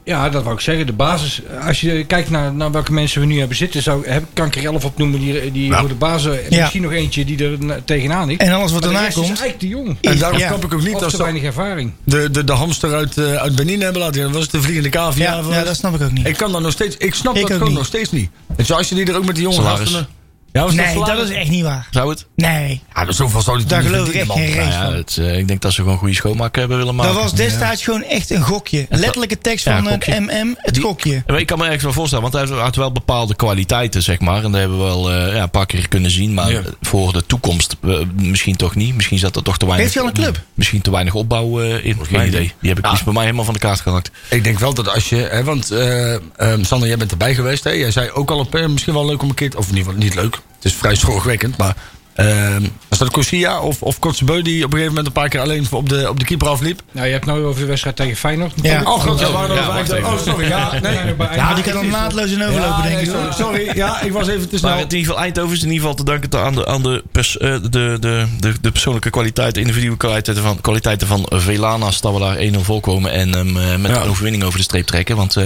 Speaker 5: Ja, dat wou ik zeggen. De basis, eh, als je kijkt naar, naar welke mensen we nu hebben zitten, zou, heb, kan ik er elf op noemen die, die
Speaker 3: Ja.
Speaker 5: voor de basis. en
Speaker 4: Ja.
Speaker 5: Misschien nog eentje die er na- tegenaan ligt.
Speaker 4: En alles wat
Speaker 5: Maar de
Speaker 4: daarna
Speaker 5: rest is
Speaker 4: komt...
Speaker 5: eigenlijk te jong.
Speaker 3: En daarom
Speaker 4: Ja.
Speaker 3: snap ik ook niet
Speaker 5: Of
Speaker 3: als
Speaker 5: te
Speaker 3: ze
Speaker 5: weinig ervaring.
Speaker 3: de, de, de hamster uit, eh, uit Benin hebben laten. Dat was het de vliegende cavia.
Speaker 4: Ja,
Speaker 3: van-
Speaker 4: ja, dat snap ik ook niet.
Speaker 3: Ik kan dat nog steeds. Ik snap
Speaker 4: Ik
Speaker 3: dat
Speaker 4: ook
Speaker 3: gewoon
Speaker 4: niet.
Speaker 3: nog steeds niet. Dus als je die er ook met die jongens
Speaker 2: Salaris.
Speaker 3: achter- Ja, was
Speaker 4: Nee, dat
Speaker 3: salaris?
Speaker 4: is echt niet waar.
Speaker 2: Zou het?
Speaker 4: Nee,
Speaker 3: Ja, maar zoveel zou die
Speaker 4: daar
Speaker 3: toch niet
Speaker 4: geloof ik echt
Speaker 3: verdienen,
Speaker 4: geen
Speaker 3: man.
Speaker 2: Nou
Speaker 4: reet
Speaker 2: ja,
Speaker 4: van.
Speaker 2: het, eh, ik denk dat ze gewoon goede schoonmaak hebben willen maken.
Speaker 4: Dat was destijds gewoon echt een gokje. Letterlijke tekst
Speaker 2: Ja,
Speaker 4: van
Speaker 2: gokje.
Speaker 4: een MM, het
Speaker 2: Die-
Speaker 4: gokje.
Speaker 2: Ja, maar Ik kan me ergens wel voorstellen, want hij had wel bepaalde kwaliteiten, zeg maar. En dat hebben we wel eh, ja, een paar keer kunnen zien. Maar
Speaker 3: Ja.
Speaker 2: voor de toekomst eh, misschien toch niet. Misschien zat er toch te weinig... Mm,
Speaker 4: Heeft hij al een club?
Speaker 2: Misschien te weinig opbouw eh, in. Geen
Speaker 3: mij
Speaker 2: idee. Ah. Die heb ik die is bij mij helemaal van de kaart gehakt.
Speaker 3: Ik denk wel dat als je, hè, want eh, ehm, Sander, jij bent erbij geweest. Hè? Jij zei ook al op, eh, misschien wel leuk om een keer, te- of niet, niet leuk, het is vrij zorgwekkend, maar Ehm was dat Corsia of, of Kotzebue die op een gegeven moment een paar keer alleen op de, op de keeper afliep?
Speaker 5: Nou, je hebt nou over de wedstrijd tegen Feyenoord.
Speaker 4: Ja.
Speaker 3: Oh, god, ja, waren er
Speaker 2: ja,
Speaker 3: nog
Speaker 2: wacht
Speaker 3: vijf-
Speaker 2: even.
Speaker 3: Oh, sorry. Ja, nee.
Speaker 4: Ja, die kan dan naadloos in overlopen,
Speaker 3: Ja,
Speaker 4: denk
Speaker 3: nee,
Speaker 4: ik. hoor.
Speaker 3: sorry, sorry. Ja, ik was even te snel.
Speaker 2: Maar in ieder geval, Eindhoven is in ieder geval te danken aan de, aan de, pers- eh, de, de, de, de persoonlijke kwaliteit, de individuele kwaliteiten van, kwaliteiten van Velanas. Dat we daar 1-0 voorkomen en hem eh, met
Speaker 3: Ja.
Speaker 2: een overwinning over de streep trekken. Want eh,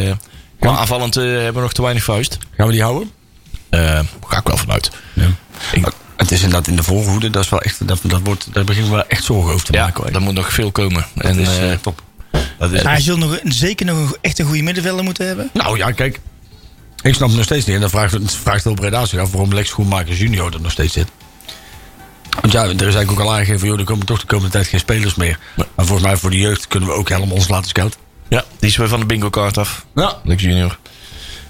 Speaker 2: qua aanvallend eh, hebben we nog te weinig vuist.
Speaker 3: Gaan we die houden?
Speaker 2: Eh, ga ik wel vanuit.
Speaker 3: Ik- het is inderdaad in de voorhoede. Dat is wel echt, dat, dat wordt, daar beginnen we wel echt zorgen over te
Speaker 2: Ja,
Speaker 3: maken. hoor.
Speaker 2: daar moet nog veel komen. en,
Speaker 3: is,
Speaker 2: eh,
Speaker 3: eh, top. Dat is,
Speaker 4: Maar Hij zult nog, een- zeker nog een, go- echt een goede middenvelder moeten hebben.
Speaker 3: Nou ja, kijk. Ik snap het nog steeds niet. En dan vraagt, het vraagt heel Breda zich af waarom Lex Schoenmaker junior er nog steeds zit. Want ja, er is eigenlijk ook al aangegeven... Joh, er komen toch de komende tijd geen spelers meer. Maar volgens mij voor de jeugd kunnen we ook helemaal ons laten scouten.
Speaker 2: ja, die is weer van de bingo kaart af.
Speaker 3: Ja.
Speaker 2: Lex Junior.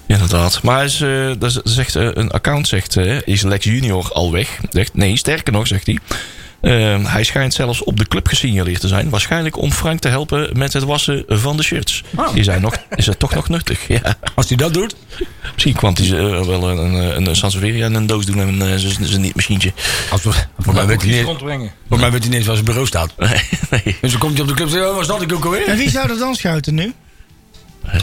Speaker 2: Ja, inderdaad. Maar hij is, eh, dat is- zegt, eh, een account zegt, eh, is Lex Junior al weg? Zegt, nee, sterker nog, zegt hij. eh, hij schijnt zelfs op de club gesignaleerd te zijn. Waarschijnlijk om Frank te helpen met het wassen van de shirts.
Speaker 4: Oh.
Speaker 2: Is, hij nog, is hij toch nog nuttig? Ja.
Speaker 3: Als hij dat doet...
Speaker 2: Misschien kwam hij eh, wel een, een, een Sansevieria in een doos doen en eh, zijn- zijn niet-machientje.
Speaker 3: Als we, voor, mij weet hij niet,
Speaker 5: rondbrengen.
Speaker 3: voor mij weet hij niet eens waar zijn bureau staat.
Speaker 2: Nee, nee.
Speaker 3: Dus dan komt hij op de club en zegt... Oh, was dat ik ook alweer?
Speaker 4: En wie zou dat dan schouten nu?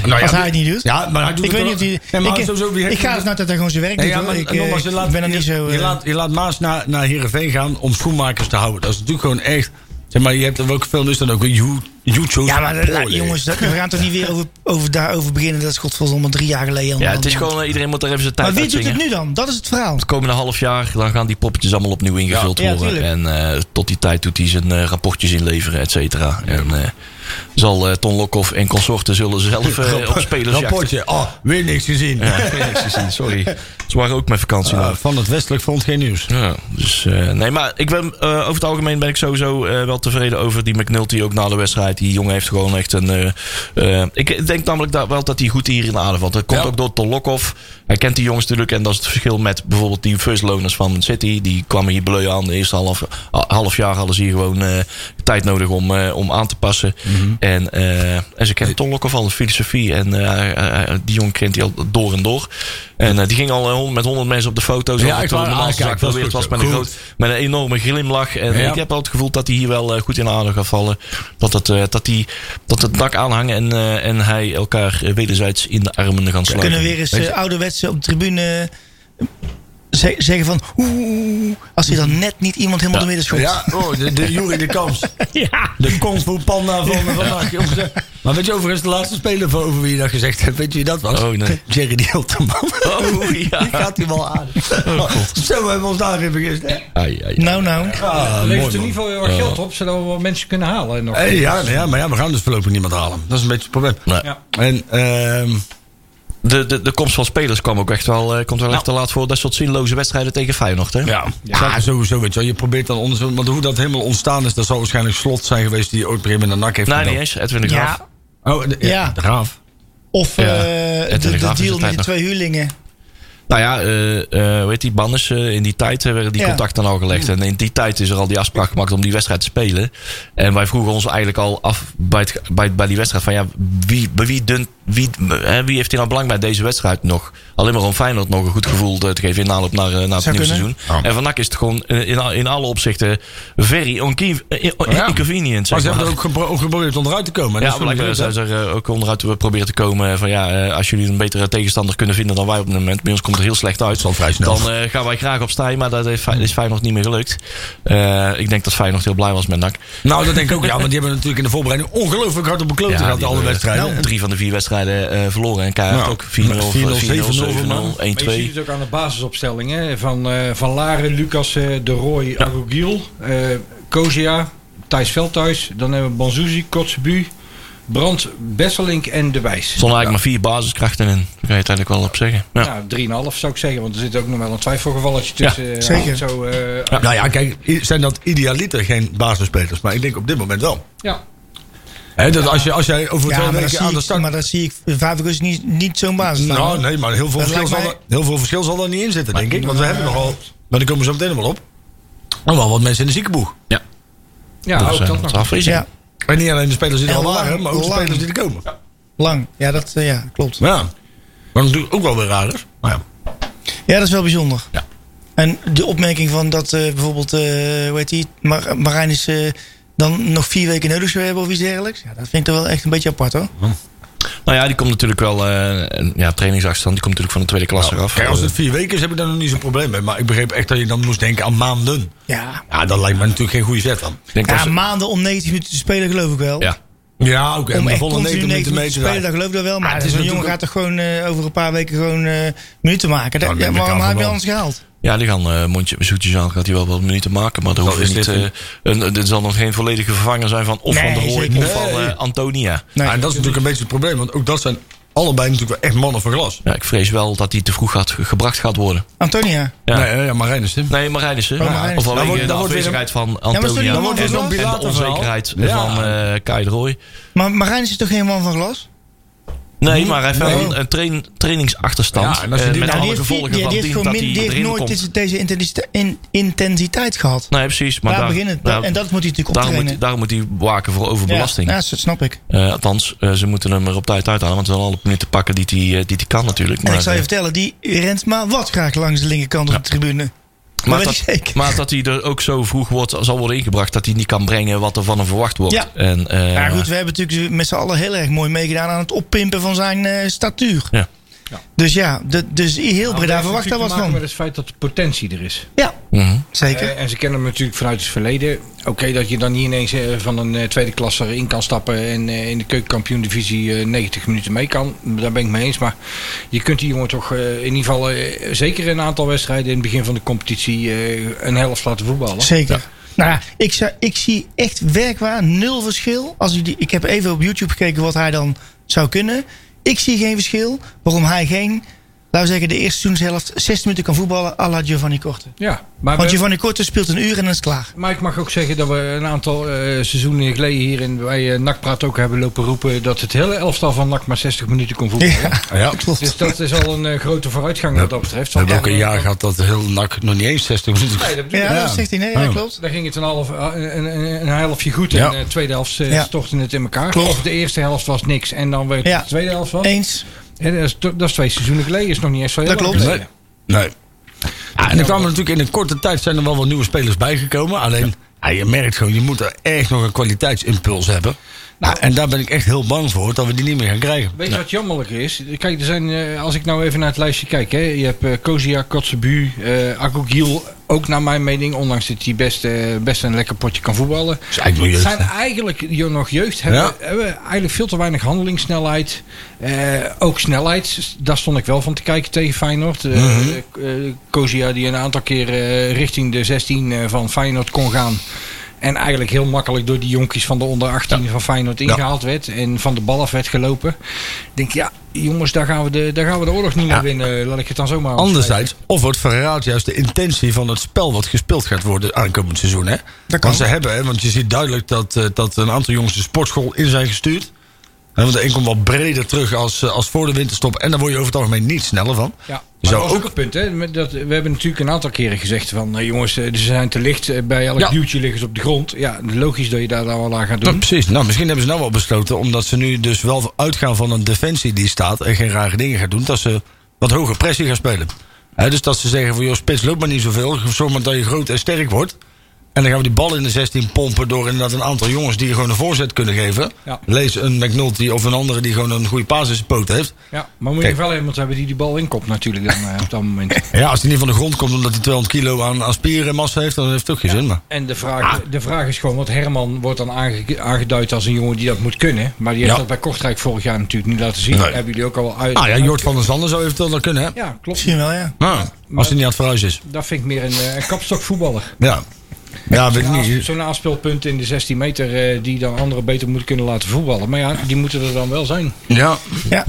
Speaker 3: Nou,
Speaker 4: Als hij het niet doet?
Speaker 3: Ja, maar hij doet
Speaker 4: Ik weet niet of die.
Speaker 3: Nee, maar hij
Speaker 4: ik,
Speaker 3: is sowieso weer-
Speaker 4: ik ga ervan uit dat hij gewoon zijn werk
Speaker 3: Nee,
Speaker 4: doet.
Speaker 3: ja,
Speaker 4: hoor.
Speaker 3: maar
Speaker 4: ik, eh,
Speaker 3: nogmaals, je laat,
Speaker 4: ik ben er niet zo.
Speaker 3: je,
Speaker 4: eh,
Speaker 3: laat, je laat Maas naar, naar Heerenveen gaan om schoenmakers te houden. Dat is natuurlijk gewoon echt... Zeg maar, je hebt er ook veel... Is dan ook een YouTube...
Speaker 4: ja, maar eh, jongens, dat, we gaan toch niet weer over, over, daarover beginnen. Dat is godverdomme drie jaar geleden.
Speaker 2: Ja,
Speaker 4: allemaal.
Speaker 2: het is gewoon, eh, iedereen moet daar even zijn tijd
Speaker 4: Oh, Maar wie doet
Speaker 2: uitzingen.
Speaker 4: het nu dan? Dat is het verhaal.
Speaker 2: Het komende half jaar dan gaan die poppetjes allemaal opnieuw ingevuld
Speaker 4: Ja, ja,
Speaker 2: worden.
Speaker 4: tuurlijk.
Speaker 2: En eh, tot die tijd doet hij zijn eh, rapportjes inleveren, et cetera. En eh, zal eh, Ton Lokhoff en consorten zullen zelf eh, op spelers
Speaker 3: Rapportje. Oh, weer niks gezien.
Speaker 2: Sorry, ze waren ook met vakantie.
Speaker 4: Ah,
Speaker 3: Eh,
Speaker 2: nou.
Speaker 3: van het Westelijk Front geen nieuws.
Speaker 2: Ja, dus, eh, nee, maar ik ben, eh, over het algemeen ben ik sowieso eh, wel tevreden over die McNulty. Ook na de wedstrijd. Die jongen heeft gewoon echt een... eh, eh, ik denk namelijk dat, wel dat hij goed hier in de aarde valt. Dat komt
Speaker 3: Ja.
Speaker 2: ook door Tolokov. Hij kent die jongens natuurlijk. En dat is het verschil met bijvoorbeeld die first loners van City. Die kwamen hier bleu aan. De eerste half, a- half jaar hadden ze hier gewoon eh, tijd nodig om, eh, om aan te passen. En, eh, en ze kennen Tolokov al, de filosofie. En eh, hij- hij- hij- die jongen kent hij al door en door. En eh, die ging al eh, hond- met honderd mensen op de foto's.
Speaker 3: Ja,
Speaker 2: Alsof het
Speaker 3: ik wou-
Speaker 2: normaal
Speaker 3: ah, kijk, dat is
Speaker 2: geprobeerd
Speaker 3: goed
Speaker 2: was
Speaker 3: zo.
Speaker 2: met een,
Speaker 3: Goed.
Speaker 2: groot, met een enorme glimlach. En
Speaker 3: Ja.
Speaker 2: ik heb al het gevoel dat hij hier wel eh, goed in de aarde gaat vallen. Dat het, eh, dat die, dat het dak aanhangen en, eh, en hij elkaar eh, wederzijds in de armen gaan
Speaker 4: We
Speaker 2: sluiten.
Speaker 4: kunnen weer eens eh,
Speaker 3: Weet je-
Speaker 4: ouderwetse op de tribune eh, ze- zeggen van. oeh, Oeh, oeh, als hij dan net niet iemand helemaal door midden schopt.
Speaker 3: Ja, oh, de, de Jury de Kamps. De Kung Fu Panda van vandaag. jongens. Maar weet je overigens de laatste speler van over wie je dat gezegd hebt? Weet je wie dat was?
Speaker 2: Oh, nee.
Speaker 3: Jerry Hilterman.
Speaker 2: Oh, ja.
Speaker 3: Die gaat hij wel aan. Zo hebben we ons daarin begist. hè?
Speaker 2: Ai, ai, ai.
Speaker 4: Nou, nou.
Speaker 3: Ah,
Speaker 5: Er
Speaker 3: mooi,
Speaker 5: levert in
Speaker 3: man.
Speaker 5: ieder geval heel erg geld op, zodat we wat mensen kunnen halen. Nog.
Speaker 3: Hey, ja, nou ja, maar ja, we gaan dus voorlopig niemand halen. Dat is een beetje het probleem.
Speaker 2: Nee.
Speaker 5: Ja.
Speaker 3: En ehm,
Speaker 2: Nou, De, de, de komst van spelers kwam ook echt wel, eh,
Speaker 4: Nou.
Speaker 2: komt wel echt te laat voor. Dat soort zinloze wedstrijden tegen Feyenoord. Hè?
Speaker 3: ja, ja. sowieso weet je wel. Je probeert dan onderzoek. Want hoe dat helemaal ontstaan is, dat zal waarschijnlijk slot zijn geweest die ooit op een gegeven moment naar NAC heeft
Speaker 2: Nee,
Speaker 3: gedaan.
Speaker 2: Nou, niet eens. Edwin de
Speaker 4: Ja.
Speaker 2: Graaf.
Speaker 3: Oh, de,
Speaker 4: Ja.
Speaker 3: de Graaf.
Speaker 4: Of
Speaker 2: Ja,
Speaker 4: eh,
Speaker 2: het
Speaker 4: de, de
Speaker 2: telegraaf is
Speaker 4: deal
Speaker 2: de
Speaker 4: met
Speaker 2: tijd
Speaker 4: de
Speaker 2: nog.
Speaker 4: twee huurlingen.
Speaker 2: Nou ja, eh eh weet die banners eh, in die tijd eh, werden die
Speaker 4: Ja.
Speaker 2: contacten al gelegd. En in die tijd is er al die afspraak gemaakt om die wedstrijd te spelen. En wij vroegen ons eigenlijk al af bij, het, bij, bij die wedstrijd van ja, wie, bij wie, dunt, wie, hè, wie heeft hier nou belang bij deze wedstrijd nog? Alleen maar om Feyenoord nog een goed gevoel te te geven in aanloop naar, eh, naar het
Speaker 4: Zou
Speaker 2: nieuwe
Speaker 4: kunnen.
Speaker 2: seizoen. En vandaag is het gewoon eh, in, al- in alle opzichten very onkie- eh, eh,
Speaker 3: Ja.
Speaker 2: inconvenient.
Speaker 3: Maar
Speaker 2: Zeg
Speaker 3: ze hebben
Speaker 2: maar.
Speaker 3: er ook gepro- ook geprobeerd onderuit te komen. En dat
Speaker 2: Ja,
Speaker 3: is wel
Speaker 2: blijkbaar zijn
Speaker 3: gebeurd,
Speaker 2: ze er eh, ook onderuit te proberen te komen. Van ja, eh, als jullie een betere tegenstander kunnen vinden dan wij op het moment. Bij ons komt het heel slecht uit.
Speaker 3: zal vrij snel.
Speaker 2: Dan eh, gaan wij graag op stijgen, maar dat heeft, Fey- is Feyenoord niet meer gelukt. Eh, ik denk dat Feyenoord heel blij was met NAC.
Speaker 3: hè? Nou, dat denk ik ook. Ja, want die hebben natuurlijk in de voorbereiding ongelooflijk hard op de klote gehad.
Speaker 2: die
Speaker 3: Alle
Speaker 2: hebben,
Speaker 3: wedstrijden.
Speaker 2: nou, drie van de vier wedstrijden eh, verloren. En Kaart
Speaker 3: Nou,
Speaker 2: ook eh, 4-0, 4-0,
Speaker 3: 4-0,
Speaker 2: 7-0, 1-2.
Speaker 5: Maar je ziet het ook aan de basisopstelling hè? Van, eh, van Laren, Lucas, eh, De Roy, Arugiel, eh Kozia, Thijs Veldhuis. Dan hebben we Banzuzi, Kotzebu, Brand, Besselink en De Wijs.
Speaker 2: Er stonden eigenlijk maar vier basiskrachten in. Daar kan je het eigenlijk wel op zeggen. Ja.
Speaker 5: Ja, 3,5 Nou, zou ik zeggen, want er zit ook nog wel een twijfelgevalletje tussen. eh,
Speaker 4: zeker.
Speaker 5: Zo, eh,
Speaker 3: Nou ja, kijk, i- zijn dat idealiter geen basisspelers? Maar ik denk op dit moment wel.
Speaker 5: ja.
Speaker 3: Hè, dat als, je, als jij over
Speaker 4: Ja,
Speaker 3: twee
Speaker 4: maar dat,
Speaker 3: weken
Speaker 4: zie
Speaker 3: aan de
Speaker 4: ik,
Speaker 3: start...
Speaker 4: maar dat zie ik. Vijverkust niet, niet zo'n basis.
Speaker 3: nou, nee, maar heel veel,
Speaker 4: Dat
Speaker 3: verschil zal,
Speaker 4: lijkt
Speaker 3: er, heel veel verschil zal er niet in zitten, denk ik. Want we hebben nogal... Maar daar komen we zo meteen nog wel op. Nog wel wat mensen in de ziekenboeg.
Speaker 5: ja
Speaker 2: Dat
Speaker 5: ook
Speaker 2: is, eh,
Speaker 5: dat
Speaker 2: wat
Speaker 5: nog.
Speaker 2: afwezig.
Speaker 4: Ja,
Speaker 3: En niet alleen de spelers die er
Speaker 4: En
Speaker 3: al waren,
Speaker 4: lang,
Speaker 3: maar ook de
Speaker 4: lang.
Speaker 3: spelers die er komen.
Speaker 4: lang. Ja, dat eh, ja, klopt.
Speaker 3: Nou Ja. Wat natuurlijk ook wel weer raar is. Maar ja.
Speaker 4: Ja, dat is wel bijzonder.
Speaker 2: Ja.
Speaker 4: En En de opmerking van dat eh, bijvoorbeeld, eh hoe heet die, Mar Marijn is eh, dan nog vier weken nodig zou hebben of iets dergelijks. Ja, dat vind ik toch wel echt een beetje apart hoor.
Speaker 2: Nou ja, die komt natuurlijk wel. eh, een- ja, trainingsachterstand. Die komt natuurlijk van de tweede klasse af.
Speaker 3: Nou, Kijk, als het vier weken is, heb ik daar nog niet zo'n probleem mee. Maar ik begreep echt dat je dan moest denken aan maanden.
Speaker 4: Ja,
Speaker 3: Ja, dat lijkt me natuurlijk geen goede zet dan.
Speaker 2: Ik denk dat
Speaker 4: ja
Speaker 2: ze-
Speaker 4: maanden om 90 minuten te spelen geloof ik wel.
Speaker 2: ja.
Speaker 3: Ja, oké.
Speaker 4: Om
Speaker 3: maar
Speaker 4: echt
Speaker 3: volle
Speaker 4: continu 90
Speaker 3: 90
Speaker 4: minuten te spelen,
Speaker 3: draaien.
Speaker 4: dat geloof ik wel. wel.
Speaker 3: Ah,
Speaker 4: Maar
Speaker 3: het
Speaker 4: zo'n
Speaker 3: is
Speaker 4: jongen
Speaker 3: natuurlijk
Speaker 4: gaat toch gewoon eh, over een paar weken gewoon eh, minuten maken. Dat,
Speaker 3: Nou,
Speaker 4: ja,
Speaker 3: dat denk ik
Speaker 4: waarom
Speaker 3: aan
Speaker 4: heb je
Speaker 3: wel.
Speaker 4: anders gehaald?
Speaker 2: Ja, die gaan eh mondje, zoetjes aan. Gaat hij wel wat minuten maken. Maar dat
Speaker 3: Dat
Speaker 2: hoeft
Speaker 3: is
Speaker 2: niet.
Speaker 3: dit
Speaker 2: eh, een, dit zal nog geen volledige vervanger zijn van. Of
Speaker 4: Nee,
Speaker 2: van de Roy.
Speaker 4: zeker
Speaker 2: Of
Speaker 4: niet.
Speaker 2: van eh, Antonia.
Speaker 4: Nee.
Speaker 3: Ja, en dat is natuurlijk een beetje het probleem. Want ook dat zijn allebei natuurlijk wel echt mannen van glas.
Speaker 2: Ja, ik vrees wel dat die te vroeg gaat, ge- gebracht gaat worden.
Speaker 4: Antonia.
Speaker 2: Ja.
Speaker 3: Nee, ja, ja, Marijn is het.
Speaker 2: Nee, Marijn is er.
Speaker 4: Oh, Marijn is er.
Speaker 2: Of
Speaker 3: Dan
Speaker 2: alleen
Speaker 3: wordt-
Speaker 2: de
Speaker 3: dan wordt weer
Speaker 2: afwezigheid van
Speaker 4: maar is toch niet
Speaker 2: Antonia.
Speaker 4: allemaal
Speaker 2: en,
Speaker 4: zo'n
Speaker 2: en de
Speaker 3: Pilater-verhaal?
Speaker 2: onzekerheid
Speaker 3: Ja.
Speaker 2: van eh Kai de Roy.
Speaker 4: Maar Marijn is toch geen man van glas?
Speaker 2: Nee, maar hij heeft wel
Speaker 3: Nee.
Speaker 2: een, een train, trainingsachterstand.
Speaker 3: Ja, en als je
Speaker 2: eh,
Speaker 3: die
Speaker 2: met
Speaker 3: nou-
Speaker 2: alle
Speaker 4: die heeft,
Speaker 2: gevolgen
Speaker 4: die- die
Speaker 2: van
Speaker 4: heeft
Speaker 2: dien
Speaker 4: gewoon
Speaker 2: dat
Speaker 4: min-
Speaker 2: hij
Speaker 4: die heeft
Speaker 2: erin
Speaker 4: nooit
Speaker 2: komt.
Speaker 4: deze, deze intensite- in- intensiteit gehad.
Speaker 2: Nee, precies. Maar
Speaker 4: Daar,
Speaker 2: daar,
Speaker 4: beginnen, het.
Speaker 2: daar-
Speaker 4: en dat moet hij natuurlijk
Speaker 2: daarom,
Speaker 4: optrainen.
Speaker 2: moet, daarom moet hij waken voor overbelasting.
Speaker 4: Ja, ja, dat snap ik. En
Speaker 2: Eh, althans, eh, ze moeten hem er op tijd uithalen. Want ze willen alle minuten pakken die hij die, die kan natuurlijk. Maar,
Speaker 4: ik zal je
Speaker 2: eh,
Speaker 4: vertellen, die rent maar wat graag langs de linkerkant op de tribune.
Speaker 2: maar
Speaker 4: weet
Speaker 2: dat,
Speaker 4: ik zeker.
Speaker 2: maar dat hij er ook zo vroeg wordt, zal worden ingebracht... dat hij niet kan brengen wat er van hem verwacht wordt.
Speaker 4: Ja.
Speaker 2: En, eh,
Speaker 4: Ja, goed, we hebben natuurlijk met z'n allen heel erg mooi meegedaan aan het oppimpen van zijn eh, statuur.
Speaker 2: Ja.
Speaker 5: Ja. Nou,
Speaker 4: Dus ja, de, dus heel Breda verwacht daar wat
Speaker 5: Maar
Speaker 4: van.
Speaker 5: het feit dat de potentie er is.
Speaker 4: Ja,
Speaker 2: mhm.
Speaker 4: zeker.
Speaker 5: Eh, en ze kennen hem natuurlijk vanuit het verleden. Oké, dat je dan niet ineens eh, van een eh, tweede klasse in kan stappen en eh, in de keukenkampioen-divisie eh, 90 minuten mee kan. Daar ben ik mee eens. Maar je kunt die jongen toch eh, in ieder geval eh, zeker een aantal wedstrijden in het begin van de competitie eh, een helft laten voetballen.
Speaker 4: Zeker. Nou ja, ik, zou, ik zie echt werkwaar nul verschil. Als ik, die, ik heb even op YouTube gekeken wat hij dan zou kunnen. Ik zie geen verschil waarom hij geen, laten we zeggen, de eerste seizoenshelft 60 minuten kan voetballen à la Giovanni Korte.
Speaker 5: Ja, maar
Speaker 4: Want
Speaker 5: we-
Speaker 4: Giovanni Korte speelt een uur en dan is het klaar.
Speaker 5: Maar ik mag ook zeggen dat we een aantal eh, seizoenen geleden hier in, bij eh NAC Praat ook hebben lopen roepen dat het hele elftal van NAC maar 60 minuten kon voetballen.
Speaker 4: Ja,
Speaker 3: Ja.
Speaker 4: klopt.
Speaker 5: Dus dat is al een eh, grote vooruitgang wat dat betreft.
Speaker 3: We hebben ook
Speaker 5: Want-
Speaker 3: een jaar gehad dat heel nak nog niet eens 60 minuten.
Speaker 5: Nee, dat bedoel ik.
Speaker 4: Ja,
Speaker 3: Ja.
Speaker 4: dat zegt hij. Nee, ja,
Speaker 3: Oh.
Speaker 4: klopt.
Speaker 5: Dan ging het een, half, eh, een, een, een helftje goed en
Speaker 3: Ja.
Speaker 5: de tweede helft eh,
Speaker 4: Ja.
Speaker 5: stortte het in elkaar.
Speaker 4: Klopt.
Speaker 5: Of de eerste helft was niks en dan werd
Speaker 4: Ja.
Speaker 5: de tweede helft wat.
Speaker 4: Eens.
Speaker 5: En dat, is, to- dat is twee seizoenen geleden, is nog niet eens zo heel
Speaker 4: Dat
Speaker 5: lang
Speaker 4: klopt.
Speaker 5: geleden.
Speaker 3: Nee. Ja, en er kwamen natuurlijk in een korte tijd zijn er wel wat nieuwe spelers bijgekomen. Alleen, ja, je merkt gewoon, je moet er echt nog een kwaliteitsimpuls hebben. Nou, en daar ben ik echt heel bang voor, dat we die niet meer gaan krijgen.
Speaker 5: Weet je wat jammerlijk is? Kijk, er zijn, eh, als ik nou even naar het lijstje kijk, hè, je hebt eh, Kozia, Kotzebu, eh Agogiel, ook naar mijn mening, ondanks dat hij best, eh, best een lekker potje kan voetballen.
Speaker 3: Dus eigenlijk
Speaker 5: Het
Speaker 3: wil je-
Speaker 5: zijn eigenlijk je- nog jeugd, hebben,
Speaker 3: Ja.
Speaker 5: hebben eigenlijk veel te weinig handelingssnelheid. Eh, ook snelheid, daar stond ik wel van te kijken tegen Feyenoord. Eh
Speaker 3: Mhm.
Speaker 5: eh, Kozia die een aantal keer eh, richting de 16 eh, van Feyenoord kon gaan. En eigenlijk heel makkelijk door die jonkies van de onder 18 van Feyenoord ingehaald werd. En van de bal af werd gelopen. Ik denk, ja, jongens, daar gaan we de, daar gaan we de oorlog niet meer winnen. Laat ik het dan zomaar
Speaker 3: Anderzijds, of wordt verraadt juist de intentie van het spel wat gespeeld gaat worden aankomend seizoen. Hè?
Speaker 4: kan.
Speaker 3: Want ze hebben, hè, want je ziet duidelijk dat, eh, dat een aantal jongens de sportschool in zijn gestuurd. Hè, want de een komt wat breder terug als, eh, als voor de winterstop. En daar word je over het algemeen niet sneller van.
Speaker 5: Ja, maar
Speaker 3: Zou
Speaker 5: dat was ook
Speaker 3: ook-
Speaker 5: een punt. Hè? Met Dat, we hebben natuurlijk een aantal keren gezegd van... eh, jongens, eh, ze zijn te licht. eh, Bij elk
Speaker 3: Ja.
Speaker 5: duwtje liggen ze op de grond. Ja, logisch dat je daar dan wel aan gaat
Speaker 3: Ja,
Speaker 5: doen.
Speaker 3: precies. Nou, misschien hebben ze nou wel besloten, omdat ze nu dus wel uitgaan van een defensie die staat en geen rare dingen gaat doen, dat ze wat hoger pressie gaan spelen. Hè, dus dat ze zeggen van, joh, spits loopt maar niet zoveel, zorg maar dat je groot en sterk wordt. En dan gaan we die bal in de 16 pompen door inderdaad een aantal jongens die gewoon een voorzet kunnen geven.
Speaker 5: Ja.
Speaker 3: Lees een McNulty of een andere die gewoon een goede paas in zijn poot heeft.
Speaker 5: Ja, maar moet
Speaker 3: Kijk.
Speaker 5: je wel iemand hebben die die bal inkopt natuurlijk dan eh, op dat moment.
Speaker 3: Ja, als die niet van de grond komt omdat hij 200 kilo aan, aan spieren en massa heeft, dan heeft het ook geen zin. Maar.
Speaker 5: En de vraag, eh, de vraag is gewoon, want Herman wordt dan aange- aangeduid als een jongen die dat moet kunnen. Maar die heeft
Speaker 3: Ja.
Speaker 5: dat bij Kortrijk vorig jaar natuurlijk niet laten zien.
Speaker 3: Nee.
Speaker 5: Hebben jullie ook al uit...
Speaker 3: Ah ja, Jort van der Zanden zou eventueel dat kunnen, hè?
Speaker 5: Ja, klopt.
Speaker 4: Misschien wel, ja.
Speaker 3: Ah, als hij niet aan het verhuis is.
Speaker 5: Dat vind ik meer een, eh, een kapstokvoetballer.
Speaker 3: Ja. Ja, weet ik
Speaker 5: Zo'n
Speaker 3: niet.
Speaker 5: aans- Zo'n aanspeelpunt in de 16 meter eh, die dan anderen beter moeten kunnen laten voetballen. Maar ja, die moeten er dan wel zijn.
Speaker 3: Ja.
Speaker 4: Ja,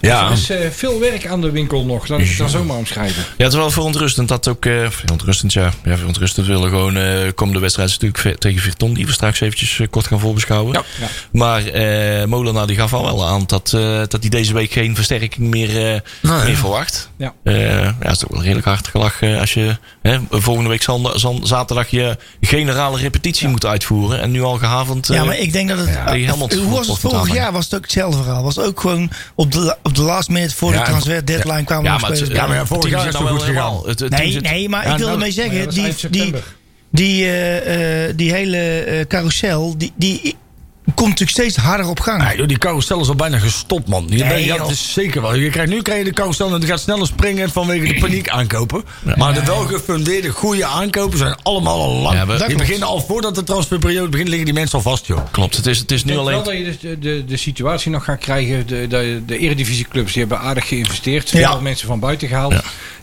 Speaker 3: Ja.
Speaker 5: Er is eh, veel werk aan de winkel nog, laat ik het dan zomaar omschrijven.
Speaker 2: Ja, het is wel verontrustend dat ook... eh verontrustend, ja. Ja, verontrustend willen gewoon... eh komende wedstrijd is natuurlijk ve- tegen Virton... die we straks eventjes eh, kort gaan voorbeschouwen.
Speaker 5: Ja.
Speaker 2: Maar eh Molenaar die gaf al wel aan dat, eh, dat hij deze week geen versterking meer, eh,
Speaker 3: Nee.
Speaker 2: meer verwacht.
Speaker 5: Ja.
Speaker 2: Eh, ja, dat is toch wel redelijk hard gelachen als je hè, volgende week zand- zand- zaterdag je generale repetitie moet uitvoeren. En nu al gehavend. eh,
Speaker 4: ja maar ik denk dat het...
Speaker 2: die Helmond
Speaker 4: hoe was het
Speaker 2: wordt
Speaker 4: vorig
Speaker 2: aan.
Speaker 4: jaar? Was het ook hetzelfde verhaal? Was het ook gewoon op de, la- op op de last minute voor de
Speaker 3: Ja,
Speaker 4: transfer deadline kwamen
Speaker 2: Ja,
Speaker 4: nog
Speaker 2: maar het,
Speaker 4: spelers bij.
Speaker 3: Ja, maar ja,
Speaker 2: het
Speaker 3: vorig
Speaker 2: team
Speaker 3: jaar
Speaker 2: zit
Speaker 3: is
Speaker 2: nou
Speaker 3: het
Speaker 2: wel
Speaker 3: goed gegaan.
Speaker 2: helemaal. Het, het team
Speaker 4: Nee,
Speaker 2: zit-
Speaker 4: nee, maar ik wil
Speaker 5: nou,
Speaker 4: ermee
Speaker 5: maar
Speaker 4: zeggen,
Speaker 5: dat is
Speaker 4: die,
Speaker 5: eind
Speaker 4: die,
Speaker 5: september.
Speaker 4: die, eh, eh, die hele eh, carousel, die, die komt natuurlijk steeds harder op gang.
Speaker 3: Ja, joh, die carousel is al bijna gestopt, man. Je bent- ja,
Speaker 4: joh.
Speaker 3: dat is zeker wel. Je krijgt, nu krijg je de carousel en het gaat sneller springen vanwege de paniek aankopen. Maar de welgefundeerde goede aankopen zijn allemaal al lang.
Speaker 2: Ja, we- Dat
Speaker 3: die
Speaker 2: klopt.
Speaker 3: beginnen al voordat de transferperiode begint, liggen die mensen al vast, joh.
Speaker 2: Klopt, het is, het is nu
Speaker 5: Ik denk
Speaker 2: alleen...
Speaker 5: wel dat je dus de, de, de situatie nog gaat krijgen. De, de, de eredivisieclubs die hebben aardig geïnvesteerd. Veel mensen van buiten gehaald.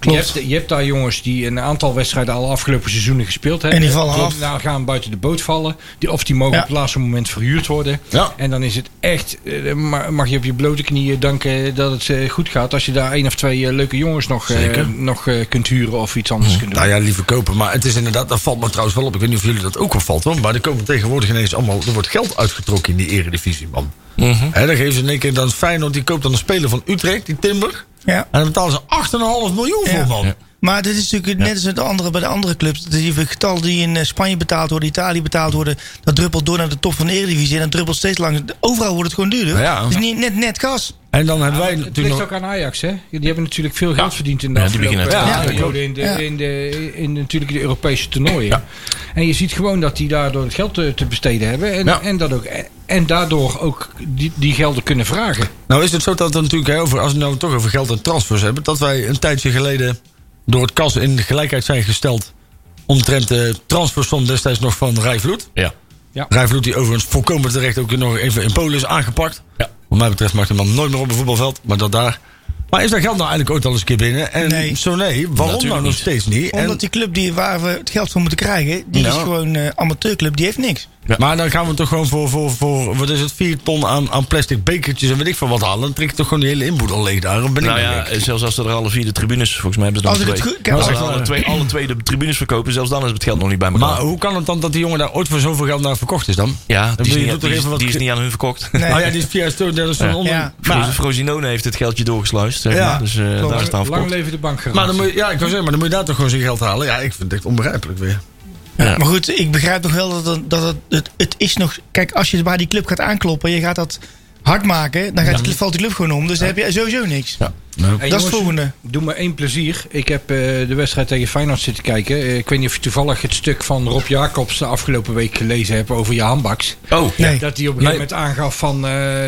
Speaker 5: je, hebt, je hebt daar jongens die een aantal wedstrijden al afgelopen seizoenen gespeeld hebben.
Speaker 4: En die vallen af.
Speaker 5: Nou gaan buiten de boot vallen. Die, of die mogen
Speaker 4: Ja.
Speaker 5: op het laatste moment verhuurd worden.
Speaker 3: Ja.
Speaker 5: En dan is het echt... eh, ma- Mag je op je blote knieën danken dat het eh, goed gaat. Als je daar één of twee eh, leuke jongens nog, eh, nog eh, kunt huren of iets anders kunt doen.
Speaker 3: Nou ja, liever kopen. Maar het is inderdaad, dat valt me trouwens wel op. Ik weet niet of jullie dat ook opvalt, hoor. Maar er komen tegenwoordig ineens allemaal... Er wordt geld uitgetrokken in die eredivisie, man.
Speaker 2: Mhm.
Speaker 3: Hè, dan geven ze in één keer dan Feyenoord, die koopt dan een speler van Utrecht, die Timber.
Speaker 4: Ja.
Speaker 3: En daar betalen ze 8,5 miljoen
Speaker 4: Ja.
Speaker 3: voor, man.
Speaker 2: Ja.
Speaker 4: Maar dit is natuurlijk net als met de andere, bij de andere clubs. Die getallen die in eh, Spanje betaald worden, Italië betaald worden. Dat druppelt door naar de top van de Eredivisie. En dat druppelt steeds langer. Overal wordt het gewoon duurder.
Speaker 3: Nou ja.
Speaker 4: Het is niet, net, net gas.
Speaker 3: En dan hebben wij
Speaker 5: Het
Speaker 3: natuurlijk
Speaker 5: ligt
Speaker 3: nog...
Speaker 5: ook aan Ajax, hè? Die hebben natuurlijk veel geld verdiend in de
Speaker 2: Ja, die
Speaker 5: afgelopen
Speaker 2: beginnen
Speaker 3: het- Ja,
Speaker 5: periode
Speaker 3: ja,
Speaker 5: in, de,
Speaker 4: klopt.
Speaker 5: in, de, in de- natuurlijk de Europese toernooien. En je ziet gewoon dat die daardoor het geld te, te besteden hebben. En,
Speaker 3: Ja.
Speaker 5: en, dat ook, en daardoor ook die, die gelden kunnen vragen.
Speaker 3: Nou is het zo dat we natuurlijk hè, over, als we nou toch over geld en transfers hebben, dat wij een tijdje geleden door het kas in gelijkheid zijn gesteld omtrent de transfersom destijds nog van Rijvloed.
Speaker 2: Ja.
Speaker 3: Rijvloed die overigens volkomen terecht ook nog even in Polen is aangepakt.
Speaker 2: Ja.
Speaker 3: Wat mij betreft mag de man nooit meer op een voetbalveld, maar dat daar. Maar is dat geld nou eigenlijk ooit al eens een keer binnen? En
Speaker 4: Nee.
Speaker 3: zo nee, waarom
Speaker 2: Natuurlijk
Speaker 3: nou nog
Speaker 2: niet.
Speaker 3: steeds niet? En-
Speaker 4: Omdat die club die, waar we het geld voor moeten krijgen. Die
Speaker 3: Nou.
Speaker 4: is gewoon eh amateurclub. Die heeft niks.
Speaker 2: Ja.
Speaker 3: Maar dan gaan we toch gewoon voor, voor, voor wat is het, 4 ton aan, aan plastic bekertjes en weet ik veel wat halen. Dan trek ik toch gewoon die hele inboedel leeg daar. Dan ben ik
Speaker 2: Nou
Speaker 3: dan
Speaker 2: ja,
Speaker 3: gek.
Speaker 2: zelfs als ze er alle vier de tribunes, volgens mij hebben ze
Speaker 4: Als
Speaker 2: dan
Speaker 4: ik
Speaker 2: twee.
Speaker 4: het goed- kijk,
Speaker 2: als
Speaker 4: als
Speaker 2: ze
Speaker 4: ik-
Speaker 2: alle twee, alle twee de tribunes verkopen, zelfs dan is het geld nog niet bij elkaar.
Speaker 3: Maar hoe kan het dan dat die jongen daar ooit voor zoveel geld naar verkocht is dan?
Speaker 2: ja, die is,
Speaker 3: bedoel, je
Speaker 2: niet,
Speaker 3: doet
Speaker 2: die,
Speaker 3: toch
Speaker 2: is,
Speaker 3: even wat
Speaker 2: die is
Speaker 3: kri-
Speaker 2: niet aan hun verkocht.
Speaker 4: Nee.
Speaker 3: Nou ja, die is via Sto- dat is zo'n onder-
Speaker 4: Ja.
Speaker 2: Frozen- Frosinone heeft het geldje doorgesluist, zeg
Speaker 3: Ja,
Speaker 2: maar. Dus eh, daar is het aan
Speaker 5: Lang
Speaker 2: verkocht.
Speaker 5: leven de bank
Speaker 3: Maar dan moet je, ja, ik wil zeggen, maar dan moet je daar toch gewoon zijn geld halen. Ja, ik vind het echt onbegrijpelijk weer.
Speaker 2: Ja.
Speaker 4: Maar goed, ik begrijp nog wel dat, het, dat het, het, het is nog... Kijk, als je bij die club gaat aankloppen. Je gaat dat hard maken. Dan gaat die, club- valt die club gewoon om. Dus dan heb je sowieso niks.
Speaker 3: Nou.
Speaker 4: Dat is het volgende.
Speaker 5: Doe me één plezier. Ik heb eh, de wedstrijd tegen Feyenoord zitten kijken. Eh, ik weet niet of je toevallig het stuk van Rob Jacobs de afgelopen week gelezen hebt over je handbaks.
Speaker 2: Oh,
Speaker 4: Nee.
Speaker 5: Dat hij op een gegeven moment aangaf van eh,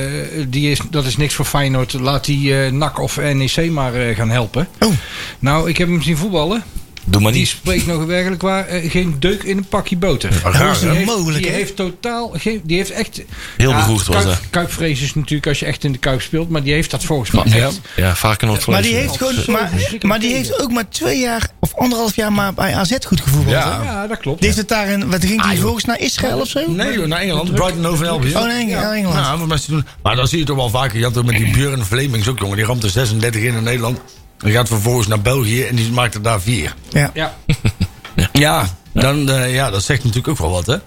Speaker 5: die is, dat is niks voor Feyenoord. Laat die eh NAC of NEC maar eh, gaan helpen.
Speaker 4: Oh.
Speaker 5: Nou, ik heb hem zien voetballen.
Speaker 2: doe maar
Speaker 5: Die
Speaker 2: niet.
Speaker 5: spreekt nog werkelijk waar eh, geen deuk in een pakje boter.
Speaker 4: Hoe is
Speaker 5: Die
Speaker 4: dat
Speaker 5: heeft-
Speaker 4: mogelijk,
Speaker 5: die
Speaker 4: hè?
Speaker 5: heeft totaal geen. Die heeft echt.
Speaker 2: Heel bevoegd was
Speaker 5: Kuip-
Speaker 2: dat.
Speaker 5: Kuipvrees is natuurlijk als je echt in de kuip speelt, maar die heeft dat volgens mij.
Speaker 3: Ja.
Speaker 5: echt.
Speaker 2: Ja, vaker nog
Speaker 4: Maar die, heeft gewoon,
Speaker 5: Zo
Speaker 4: maar,
Speaker 5: verschrikkelijk
Speaker 4: maar die
Speaker 5: tegen.
Speaker 4: heeft ook maar twee jaar of anderhalf jaar maar bij AZ goed gevoetbald.
Speaker 3: Ja. Ah,
Speaker 4: hè?
Speaker 5: Ja, dat klopt.
Speaker 4: Die heeft het daarin, wat ging die volgens naar Israël of zo?
Speaker 3: Nee joh, naar Engeland. Brighton over Albion.
Speaker 4: Oh, naar Eng- naar Engeland.
Speaker 3: Nou, wat mensen doen. Maar dan zie je toch wel vaker. Je had ook met die Björn Vlemings ook, jongen. Die ramt er 36 in in Nederland. Die gaat vervolgens naar België en die maakt er daar vier.
Speaker 4: Ja.
Speaker 5: Ja,
Speaker 3: Ja, dan, eh, ja dat zegt natuurlijk ook wel wat, hè?
Speaker 5: ja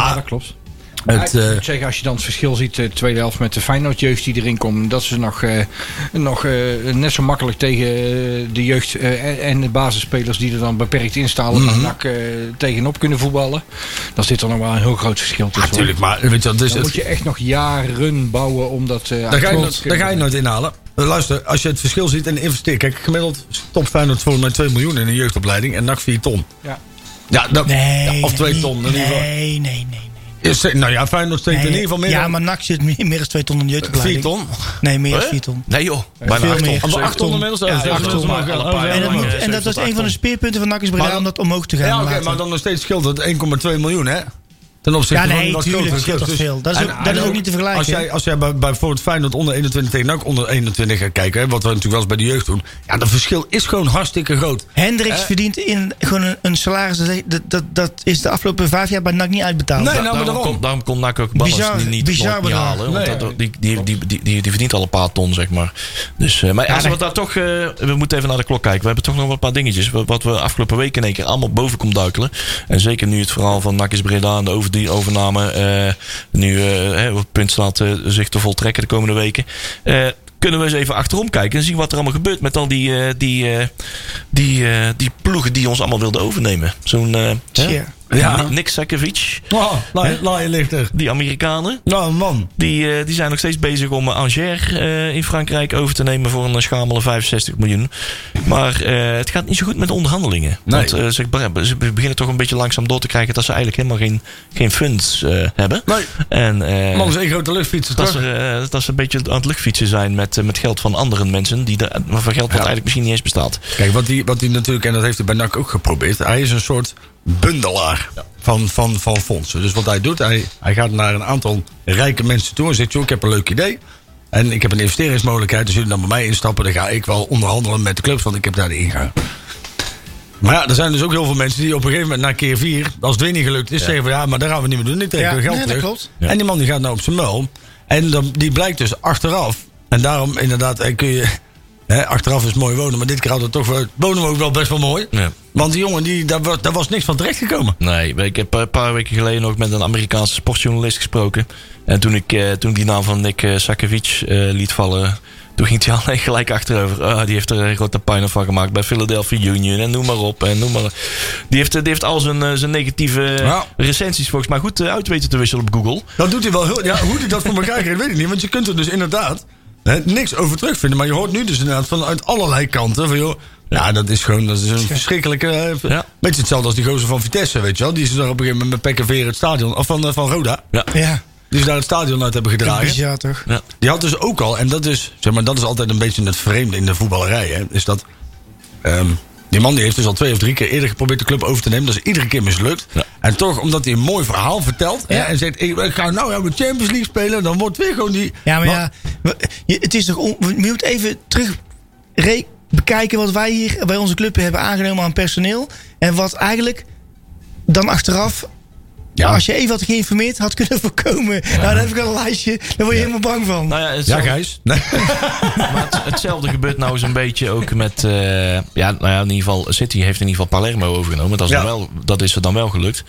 Speaker 3: Maar-
Speaker 5: dat klopt.
Speaker 3: Het,
Speaker 5: Ja, ik
Speaker 3: eh,
Speaker 5: moet zeggen, als je dan het verschil ziet, de tweede helft met de Feyenoord-jeugd die erin komt, dat ze nog, eh, nog eh, net zo makkelijk tegen eh, de jeugd eh, en- en de basisspelers die er dan beperkt
Speaker 3: Mhm.
Speaker 5: instalen, van NAC eh, tegenop kunnen voetballen. Dan zit er nog wel een heel groot verschil tussen. hoor.
Speaker 3: natuurlijk, maar weet je wat, het is
Speaker 5: Dan
Speaker 3: het.
Speaker 5: moet je echt nog jaren bouwen om dat eh
Speaker 3: Daar
Speaker 5: uit
Speaker 3: ga, je
Speaker 5: grond
Speaker 3: nooit,
Speaker 5: te
Speaker 3: daar
Speaker 5: kunnen
Speaker 3: ga je nooit inhalen. Eh, Luister, als je het verschil ziet en investeert. Kijk, gemiddeld top Feyenoord volgens mij 2 miljoen in een jeugdopleiding. En NAC 4 ton.
Speaker 5: Ja.
Speaker 3: Ja, dat,
Speaker 4: Nee.
Speaker 3: ja, of 2 ton. In
Speaker 4: Nee,
Speaker 3: ieder geval.
Speaker 4: nee, nee. nee.
Speaker 3: Is- nou ja, Feyenoord steekt in ieder geval meer
Speaker 4: Ja,
Speaker 3: dan
Speaker 4: maar NAC zit meer, meer dan 2 ton in de
Speaker 3: 4
Speaker 4: jeugdopleiding.
Speaker 3: ton.
Speaker 4: Nee, meer dan
Speaker 2: Huh?
Speaker 4: 4 ton.
Speaker 2: Nee joh, bijna
Speaker 4: Veel
Speaker 2: acht ton.
Speaker 4: meer.
Speaker 3: Of
Speaker 2: Zeven
Speaker 3: 8 ton inmiddels.
Speaker 4: Ja,
Speaker 3: dat is
Speaker 4: acht
Speaker 2: ton,
Speaker 3: nog
Speaker 2: maar
Speaker 3: wel
Speaker 2: alle
Speaker 3: over.
Speaker 2: paar
Speaker 3: En
Speaker 4: En dat,
Speaker 2: lang,
Speaker 4: moet,
Speaker 2: eh,
Speaker 4: en
Speaker 2: zeven
Speaker 4: dat was
Speaker 2: tot
Speaker 4: een
Speaker 2: acht
Speaker 4: van de
Speaker 2: ton.
Speaker 4: speerpunten van NAC is Breda
Speaker 3: Maar-
Speaker 4: om dat omhoog te gaan
Speaker 3: Ja, oké,
Speaker 4: laten.
Speaker 3: maar dan nog steeds scheelt dat 1,2 miljoen, hè? Ten opzichte
Speaker 4: Ja,
Speaker 3: van
Speaker 4: nee,
Speaker 3: wat
Speaker 4: tuurlijk
Speaker 3: grotere
Speaker 4: scheelt dat
Speaker 3: clubs.
Speaker 4: veel. Dat is ook- dat is ook niet te vergelijken,
Speaker 3: Als jij,
Speaker 4: hè?
Speaker 3: als jij bij, bij bijvoorbeeld Feyenoord onder 21 tegen NAC onder 21 gaat kijken, hè, wat we natuurlijk wel eens bij de jeugd doen. Ja, dat verschil is gewoon hartstikke groot.
Speaker 2: Eh?
Speaker 4: Hendricks verdient in, gewoon een, een salaris. dat- Dat, dat, dat is de afgelopen vijf jaar bij NAC niet uitbetaald.
Speaker 3: Nee, nou, maar
Speaker 2: daarom,
Speaker 3: daarom.
Speaker 2: kon, daarom kon NAC ook Ballas
Speaker 4: Bizar-
Speaker 2: niet, niet,
Speaker 4: bizar
Speaker 2: nooit niet
Speaker 4: bedrag.
Speaker 2: halen. Want
Speaker 3: Nee.
Speaker 2: dat- die, die, die, die, die, die verdient al een paar ton, zeg maar. Dus, eh, maar als we
Speaker 4: nee.
Speaker 2: daar toch... eh, we moeten even naar de klok kijken. We hebben toch nog wel een paar dingetjes. Wat, wat we afgelopen week in één keer allemaal boven komt duikelen. En zeker nu het verhaal van NAC is Breda en de over, die overname. eh, nu eh, hè, op het punt staat eh, zich te voltrekken de komende weken. Eh, kunnen we eens even achterom kijken en zien wat er allemaal gebeurt met al die, eh, die, eh, die, eh, die ploegen die ons allemaal wilden overnemen. Zo'n eh, hè?
Speaker 4: Tja.
Speaker 3: Ja.
Speaker 2: Ni- Nick Sakovic.
Speaker 3: Oh, laai- laaienlichter.
Speaker 2: Die Amerikanen.
Speaker 3: Nou, man.
Speaker 2: Die, eh, die zijn nog steeds bezig om eh, Angers eh, in Frankrijk over te nemen voor een eh, schamele 65 miljoen. Maar eh, het gaat niet zo goed met de onderhandelingen.
Speaker 3: Nee.
Speaker 2: Want eh, ze, be- ze beginnen toch een beetje langzaam door te krijgen dat ze eigenlijk helemaal geen, geen funds eh, hebben.
Speaker 3: Nee.
Speaker 2: En, eh,
Speaker 3: Man is één grote luchtfietser,
Speaker 2: dat
Speaker 3: toch?
Speaker 2: ze, eh, dat ze een beetje aan het luchtfietsen zijn met, eh, met geld van andere mensen. Die de, van geld wat eigenlijk misschien niet eens bestaat.
Speaker 3: Kijk, wat hij wat die natuurlijk, en dat heeft hij bij NAC ook geprobeerd... hij is een soort bundelaar van, van, van fondsen. Dus wat hij doet, hij, hij gaat naar een aantal rijke mensen toe... en zegt, joh, ik heb een leuk idee... En ik heb een investeringsmogelijkheid, dus jullie dan bij mij instappen. Dan ga ik wel onderhandelen met de clubs, want ik heb daar de ingang. Maar ja, er zijn dus ook heel veel mensen die op een gegeven moment na keer vier, als het weer niet gelukt is, zeggen van ja, maar daar gaan we niet meer doen. Ik trek
Speaker 4: Ja,
Speaker 3: weer geld
Speaker 4: nee, dat
Speaker 3: terug.
Speaker 4: klopt.
Speaker 3: En die man die gaat nou op zijn muil. En dan, die blijkt dus achteraf. En daarom inderdaad eh, kun je. Hè, achteraf is mooi wonen, maar dit keer hadden we toch wel- wonen we ook wel best wel mooi.
Speaker 2: Ja.
Speaker 3: Want die jongen, die, daar, wa- daar was niks van terechtgekomen.
Speaker 2: Nee, ik heb eh, een paar weken geleden nog met een Amerikaanse sportjournalist gesproken. En toen ik, eh, toen ik die naam van Nick eh, Sakovic eh, liet vallen, toen ging hij alleen gelijk achterover. Ah, die heeft er een grote pijn van gemaakt bij Philadelphia Union en noem maar op. En noem maar. Die, heeft, eh, die heeft al zijn, eh, zijn negatieve
Speaker 3: Ja.
Speaker 2: recensies volgens mij goed eh, uit weten te wisselen op Google.
Speaker 3: Dat doet hij wel heel. Ja, hoe hij dat voor elkaar krijgt, weet ik niet. Want je kunt er dus inderdaad hè, niks over terugvinden. Maar je hoort nu dus inderdaad vanuit allerlei kanten van joh. Ja, dat is gewoon dat is een verschrikkelijke. eh, v-
Speaker 2: Ja.
Speaker 3: Beetje hetzelfde als die gozer van Vitesse, weet je wel. Die is daar op een gegeven moment met pek en veren het stadion. Of van, eh, van Roda.
Speaker 4: Ja,
Speaker 3: Die ze daar het stadion uit hebben gedraaid.
Speaker 4: bizar toch?
Speaker 2: Ja.
Speaker 3: Die had dus ook al, en dat is, zeg maar, dat is altijd een beetje het vreemde in de voetballerij. Hè, is dat, ehm, die man die heeft dus al twee of drie keer eerder geprobeerd de club over te nemen. Dat is iedere keer mislukt.
Speaker 2: Ja.
Speaker 3: En toch, omdat hij een mooi verhaal vertelt. Hè, en zegt, ik, ik ga nou ja, met Champions League spelen. Dan wordt weer gewoon die...
Speaker 4: Ja, maar
Speaker 3: Wat-
Speaker 4: ja, we- je- het is toch on, we- je moet even terug re- bekijken wat wij hier bij onze club hebben aangenomen aan personeel. En wat eigenlijk dan achteraf,
Speaker 3: Ja.
Speaker 4: als je even had geïnformeerd, had kunnen voorkomen. Nou, dan heb ik wel een lijstje, daar word je helemaal bang van.
Speaker 2: Nou ja, het
Speaker 3: Ja, Gijs. Nee.
Speaker 2: Maar het- hetzelfde gebeurt nou eens een beetje ook met. eh, ja, nou ja, in ieder geval. City heeft in ieder geval Palermo overgenomen. Dat is,
Speaker 3: Ja.
Speaker 2: dan wel, dat is er dan wel gelukt.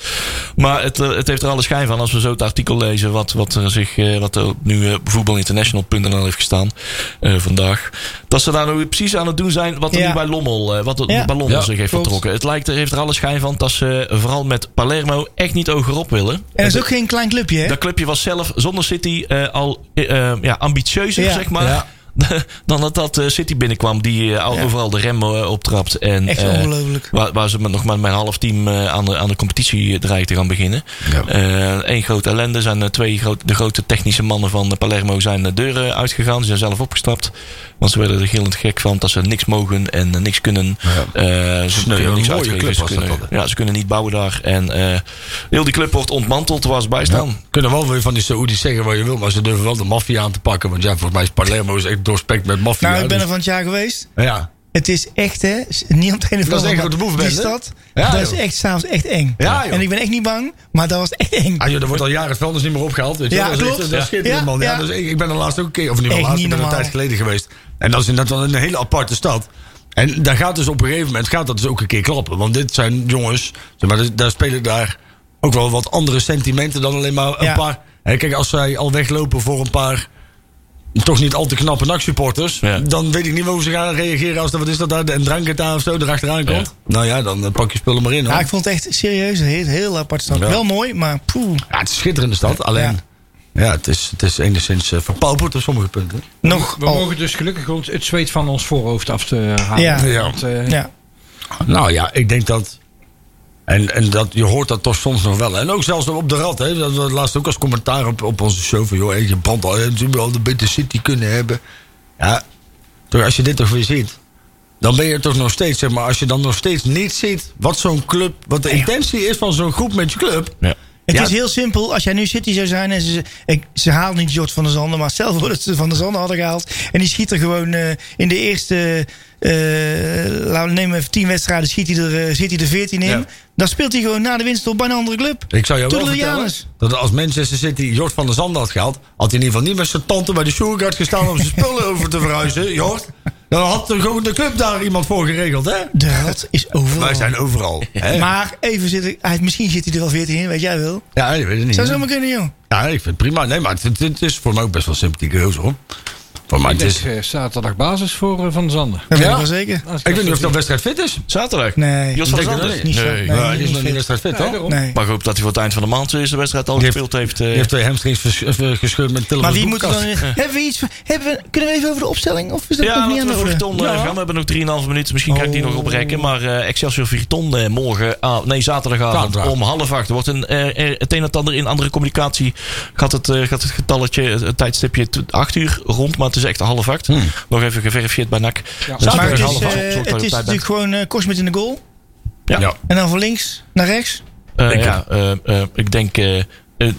Speaker 2: Maar het, eh, het heeft er alle schijn van. Als we zo het artikel lezen. wat, wat er zich. eh, wat er nu eh, voetbalinternational.nl heeft gestaan. eh, vandaag. Dat ze daar nou weer precies aan het doen zijn. wat er
Speaker 4: Ja.
Speaker 2: nu bij Lommel. eh, wat er
Speaker 4: Ja.
Speaker 2: bij Lommel
Speaker 3: Ja,
Speaker 2: zich heeft
Speaker 4: klopt.
Speaker 2: vertrokken. Het lijkt er, heeft er alle schijn van. dat ze eh, vooral met Palermo. echt niet ogerop willen.
Speaker 4: en dat is ook geen klein clubje, hè?
Speaker 2: Dat clubje was zelf zonder City eh, al eh, eh, ja, ambitieuzer,
Speaker 4: Ja.
Speaker 2: zeg maar.
Speaker 3: Ja.
Speaker 2: Dan dat, dat eh, City binnenkwam, die eh, al
Speaker 4: Ja.
Speaker 2: overal de rem eh, optrapt. En,
Speaker 4: Echt
Speaker 2: eh,
Speaker 4: ongelooflijk.
Speaker 2: Waar, waar ze met, nog maar met een half team eh, aan, de, aan de competitie dreigt te gaan beginnen.
Speaker 3: Ja.
Speaker 2: Eén grote ellende. Zijn, eh, twee groot, de grote technische mannen van eh, Palermo zijn de deuren uitgegaan. Ze zijn zelf opgestapt. Want ze werden er gillend gek van dat ze niks mogen en eh, niks kunnen.
Speaker 3: Ja.
Speaker 2: Eh, ze
Speaker 3: een
Speaker 2: kunnen niks
Speaker 3: mooie
Speaker 2: uitgeven.
Speaker 3: club
Speaker 2: Ze
Speaker 3: was dat
Speaker 2: kunnen,
Speaker 3: altijd.
Speaker 2: ja, ze kunnen niet bouwen daar. En eh, heel die club wordt ontmanteld waar ze bij
Speaker 4: Nou
Speaker 2: staan.
Speaker 3: Kunnen wel weer van die Saoedi's zeggen wat je wil. Maar ze durven wel de maffia aan te pakken. Want ja, volgens mij is Palermo is echt doorspekt met maffia.
Speaker 4: nou, ik ben
Speaker 3: dus-
Speaker 4: er van het jaar geweest.
Speaker 3: Ja.
Speaker 4: Het is echt, hè? s- Niet om het ene of
Speaker 3: Dat is
Speaker 4: andere,
Speaker 3: echt
Speaker 4: maar
Speaker 3: grote boef
Speaker 4: Die
Speaker 3: bent, hè?
Speaker 4: stad,
Speaker 3: Ja,
Speaker 4: dat is
Speaker 3: joh.
Speaker 4: echt s'avonds echt eng.
Speaker 3: Ja, joh.
Speaker 4: en ik ben echt niet bang, maar dat was echt eng.
Speaker 3: Ah joh, er wordt al jaren het vuilnis niet meer opgehaald. Weet je
Speaker 4: Ja,
Speaker 3: wel. dat is, echt-
Speaker 4: klopt.
Speaker 3: dat is schitterend,
Speaker 4: Ja,
Speaker 3: man. Ja,
Speaker 4: ja.
Speaker 3: dus ik, ik ben er laatst ook een keer, of niet
Speaker 4: Echt
Speaker 3: meer laatst,
Speaker 4: niet
Speaker 3: ik ben er een
Speaker 4: normaal.
Speaker 3: tijd geleden geweest. En dat is inderdaad wel een hele aparte stad. En daar gaat dus op een gegeven moment gaat dat dus ook een keer klappen. Want dit zijn jongens, zeg maar, dus daar spelen daar ook wel wat andere sentimenten dan alleen maar een
Speaker 4: Ja.
Speaker 3: paar. Hè, kijk, als zij al weglopen voor een paar toch niet al te knappe NAC-supporters...
Speaker 2: Ja.
Speaker 3: dan weet ik niet meer hoe ze gaan reageren als er, wat is dat daar, een dranketa of zo erachteraan komt. Nou ja, dan eh, pak je spullen maar in. Hoor.
Speaker 4: Ja, ik vond het echt serieus een heel, heel apart stad.
Speaker 3: Ja.
Speaker 4: Wel mooi, maar poeh.
Speaker 3: Ja, het is een schitterende stad, alleen... Ja, het, is, het is enigszins eh, verpauperd op sommige punten.
Speaker 4: Nog
Speaker 5: We
Speaker 3: Oh.
Speaker 4: al.
Speaker 5: mogen dus gelukkig ons het zweet van ons voorhoofd af te halen.
Speaker 4: Ja.
Speaker 3: Ja.
Speaker 5: Want, eh,
Speaker 4: Ja.
Speaker 3: Nou ja, ik denk dat... En, en dat, je hoort dat toch soms nog wel. En ook zelfs op de rad. Hè, dat was laatst ook als commentaar op, op onze show. Van, joh, hey, je brandt al, hè, ze hebben al de Bitter City kunnen hebben. Ja, toch, als je dit toch weer ziet... Dan ben je toch nog steeds, zeg maar, als je dan nog steeds niet ziet... wat zo'n club, wat de intentie is van zo'n groep met je club...
Speaker 4: Het
Speaker 3: Ja.
Speaker 4: is heel simpel. Als jij nu City zou zijn en ze, ik, ze halen niet George van der Zanden, maar stel voor dat ze van der Zanden hadden gehaald. En die schiet er gewoon eh, in de eerste, eh laten we nemen even 10 wedstrijden, schiet hij er, eh, zit hij er 14 in.
Speaker 3: Ja.
Speaker 4: Dan speelt hij gewoon na de winst op bij een andere club.
Speaker 3: Ik zou jou wel vertellen
Speaker 4: Toedelianus.
Speaker 3: dat als Manchester City Jort van der Zand had gehaald... had hij in ieder geval niet met zijn tante bij de Sugarguard gestaan... om zijn spullen over te verhuizen, Jort. Dan had er gewoon de club daar iemand voor geregeld, hè?
Speaker 4: De rat is overal.
Speaker 3: Wij zijn overal. Hè?
Speaker 4: Maar even zitten, hij, misschien zit hij er wel 14 in, weet jij wel.
Speaker 3: ja, ik weet het niet.
Speaker 4: Zou
Speaker 3: hè?
Speaker 4: zomaar kunnen, joh.
Speaker 3: Ja, ik vind het prima. Nee, maar het, het- het is voor mij ook best wel sympathiek, hoor. Voor mij
Speaker 5: Ik
Speaker 3: het
Speaker 5: denk
Speaker 3: is.
Speaker 5: eh, zaterdag basis voor eh, Van Zander.
Speaker 4: Dat weet
Speaker 3: Ja?
Speaker 4: ik wel zeker.
Speaker 5: Als
Speaker 3: Ik weet niet of dat
Speaker 5: dat
Speaker 3: wedstrijd fit is.
Speaker 2: Zaterdag?
Speaker 4: Nee.
Speaker 2: Jos van
Speaker 3: Ik denk
Speaker 2: Zander?
Speaker 3: dat
Speaker 4: niet.
Speaker 2: Nee.
Speaker 4: Nee.
Speaker 3: Ja, die is nog niet wedstrijd fit,
Speaker 5: Nee,
Speaker 3: toch?
Speaker 5: daarom.
Speaker 4: Nee.
Speaker 2: Maar ik hoop dat hij voor het eind van de maand is de wedstrijd al
Speaker 3: Die
Speaker 2: gespeeld heeft. eh,
Speaker 3: Die heeft twee hamstrings vers- eh, gescheurd met Tillers
Speaker 4: Maar wie moet er dan...
Speaker 3: boekkast.
Speaker 4: Hebben we iets... van- Hebben we, kunnen we even over de opstelling? Of is dat
Speaker 2: ja,
Speaker 4: nog niet
Speaker 2: laten
Speaker 4: aan
Speaker 2: we
Speaker 4: de
Speaker 2: voor
Speaker 4: orde?
Speaker 2: Vierton eh, gaan. We hebben nog 3,5 minuten. Misschien kan ik die
Speaker 4: Oh.
Speaker 2: nog oprekken. Maar eh Excelsior Vierton eh, morgen, ah, nee, zaterdagavond
Speaker 3: Zaterdag.
Speaker 2: om half acht. Er wordt een, eh, er- het een en het ander in andere communicatie. Gaat het, eh, gaat het getalletje, het, het tijdstipje t- acht uur rond. Maar het is echt half acht.
Speaker 3: Hmm.
Speaker 2: Nog even geverifieerd bij NAC. Dus
Speaker 4: Maar
Speaker 2: morgen
Speaker 4: het is,
Speaker 2: half acht,
Speaker 4: eh,
Speaker 2: zorg dat je
Speaker 4: het
Speaker 2: op
Speaker 4: is
Speaker 2: tijd bent.
Speaker 4: natuurlijk gewoon eh Kosmet in de goal.
Speaker 2: Ja.
Speaker 3: Ja.
Speaker 4: En dan van links naar rechts.
Speaker 2: Eh,
Speaker 3: Denk
Speaker 2: ja, eh, eh, ik denk eh, eh,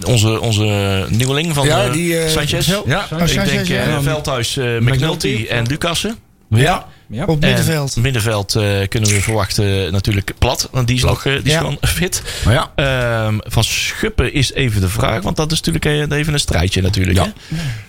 Speaker 2: onze, onze nieuweling van
Speaker 3: Ja,
Speaker 2: eh,
Speaker 3: die, eh,
Speaker 2: Sanchez.
Speaker 3: Ja.
Speaker 4: Oh,
Speaker 2: Ik
Speaker 4: Sanchez,
Speaker 2: denk eh,
Speaker 4: ja.
Speaker 2: Veldhuis, eh, McNulty
Speaker 5: McNulty.
Speaker 2: en Lucassen.
Speaker 3: Ja.
Speaker 5: Ja.
Speaker 4: Op middenveld.
Speaker 2: eh, En middenveld eh, kunnen we verwachten eh, natuurlijk plat. Want die is, nog, eh, die is
Speaker 4: Ja.
Speaker 2: gewoon fit.
Speaker 3: Maar ja.
Speaker 2: Ehm, van Schuppen is even de vraag. Want dat is natuurlijk eh, even een strijdje natuurlijk.
Speaker 3: Ja.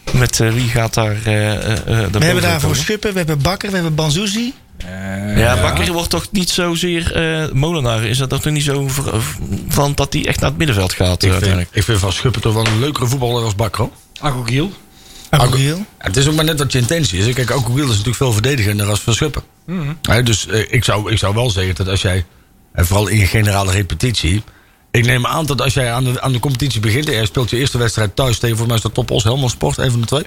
Speaker 2: Hè? Met eh, wie gaat daar... eh, eh, eh, daarboven
Speaker 4: We hebben daarvoor
Speaker 2: komen?
Speaker 4: Schuppen, we hebben Bakker, we hebben Banzuzi.
Speaker 5: Eh,
Speaker 2: Ja, Bakker wordt toch niet zozeer... eh, Molenaar is dat toch niet zo ver- van dat hij echt naar het middenveld gaat eh,
Speaker 3: Ik vind,
Speaker 2: uiteindelijk.
Speaker 3: ik vind Van Schuppen toch wel een leukere voetballer als Bakker. hoor.
Speaker 5: Agogiel.
Speaker 4: Aguil.
Speaker 3: Ja, Het is ook maar net wat je intentie is. hè. Kijk, ook Wiel is natuurlijk veel verdedigender als Van Schuppen. Hè, dus eh, ik, zou, ik zou wel zeggen dat als jij, en vooral in je generale repetitie... Ik neem aan dat als jij aan de, aan de competitie begint... en jij speelt je eerste wedstrijd thuis tegen, volgens mij is dat Top Os Helmond Sport, een van de twee.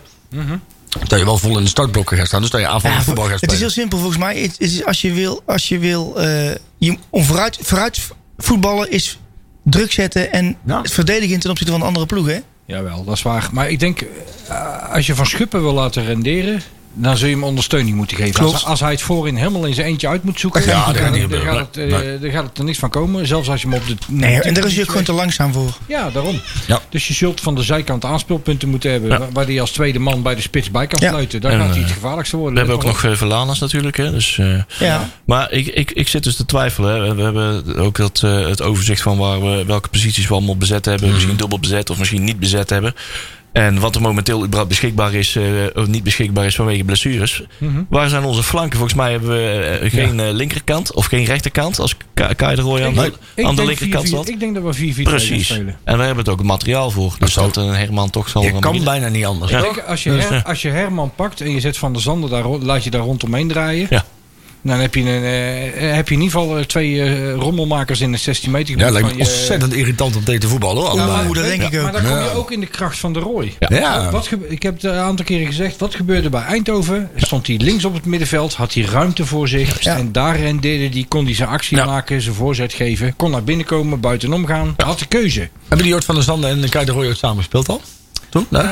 Speaker 3: Dat je wel vol in de startblokken gaat staan. Dus dat je aanvallend voetbal gaat
Speaker 4: Het is
Speaker 3: spelen.
Speaker 4: heel simpel volgens mij. Het is als je wil, als je wil eh, je, om vooruit, vooruit voetballen is druk zetten en
Speaker 3: Ja.
Speaker 4: het verdedigen ten opzichte van de andere ploeg. Hè?
Speaker 5: Jawel, dat is waar. Maar ik denk, eh, als je Van Schuppen wil laten renderen... dan zul je hem ondersteuning moeten geven.
Speaker 4: Klopt.
Speaker 5: Als, als hij het voorin helemaal in zijn eentje uit moet zoeken...
Speaker 3: Ja, dat
Speaker 5: dan,
Speaker 3: gaat niet
Speaker 5: dan
Speaker 3: gebeuren.
Speaker 5: gaat het, eh,
Speaker 3: Nee.
Speaker 5: dan gaat het er niks van komen. Zelfs als je hem op de...
Speaker 4: Nee, en daar is je gewoon te langzaam voor.
Speaker 5: Ja, daarom.
Speaker 3: Ja.
Speaker 5: Dus je zult van de zijkant aanspeelpunten moeten hebben...
Speaker 2: Ja.
Speaker 5: wa- waar hij als tweede man bij de spits bij kan
Speaker 4: Ja.
Speaker 5: sluiten. Daar
Speaker 2: En,
Speaker 5: gaat hij
Speaker 2: eh,
Speaker 5: het gevaarlijkste worden.
Speaker 2: We hebben ook nog eh, Verlanas natuurlijk. Hè? Dus, eh,
Speaker 4: Ja.
Speaker 2: Maar ik, ik, ik zit dus te twijfelen. Hè. We hebben ook dat, eh, het overzicht van waar we, welke posities we allemaal bezet hebben.
Speaker 5: Mhm.
Speaker 2: Misschien dubbel bezet of misschien niet bezet hebben. En wat er momenteel überhaupt beschikbaar is, eh, of niet beschikbaar is vanwege blessures.
Speaker 5: Mhm.
Speaker 2: Waar zijn onze flanken? Volgens mij hebben we eh, geen eh, linkerkant of geen rechterkant. Als Ka- Kai de Roy aan, de-
Speaker 5: Ik- ik
Speaker 2: aan de
Speaker 5: denk
Speaker 2: linkerkant
Speaker 5: 4-4
Speaker 2: zat.
Speaker 5: Ik denk dat we 4-4 gaan
Speaker 2: Precies. En
Speaker 5: spelen.
Speaker 2: daar hebben we het ook het materiaal voor. Dus
Speaker 3: zou-
Speaker 2: dat een Herman toch zal
Speaker 3: Je
Speaker 2: gaan
Speaker 3: kan
Speaker 2: beginnen.
Speaker 3: bijna niet anders.
Speaker 5: Ik
Speaker 2: Ja.
Speaker 5: denk, als je,
Speaker 2: Dus,
Speaker 5: Her-
Speaker 2: ja.
Speaker 5: als je Herman pakt en je zet Van der Zanden daar, rond- laat je daar rondomheen draaien.
Speaker 2: Ja.
Speaker 5: Dan heb je, een, eh, heb je in ieder geval eh, twee eh, rommelmakers in het 16 meter.
Speaker 3: Ja,
Speaker 5: gebied
Speaker 3: lijkt
Speaker 5: van
Speaker 3: me
Speaker 5: je- eh,
Speaker 3: ontzettend irritant om tegen te voetballen. hoor,
Speaker 4: Ja,
Speaker 3: allebei.
Speaker 4: maar- Oeh, dat denk ik ook.
Speaker 5: Maar dan kom
Speaker 3: Ja.
Speaker 5: je ook in de kracht van de Roy.
Speaker 3: Ja.
Speaker 5: Wat gebe- ik heb het een aantal keren gezegd. Wat gebeurde bij Eindhoven? Stond hij links op het middenveld. Had hij ruimte voor zich.
Speaker 4: Ja.
Speaker 5: En daar rendeerde hij. Kon hij zijn actie
Speaker 2: Ja.
Speaker 5: maken. Zijn voorzet geven. Kon naar binnen komen. Buitenom gaan. Had de keuze.
Speaker 3: Hebben die Jort van der Zanden en Kai de Roy ook samen gespeeld al? Toen? Nee?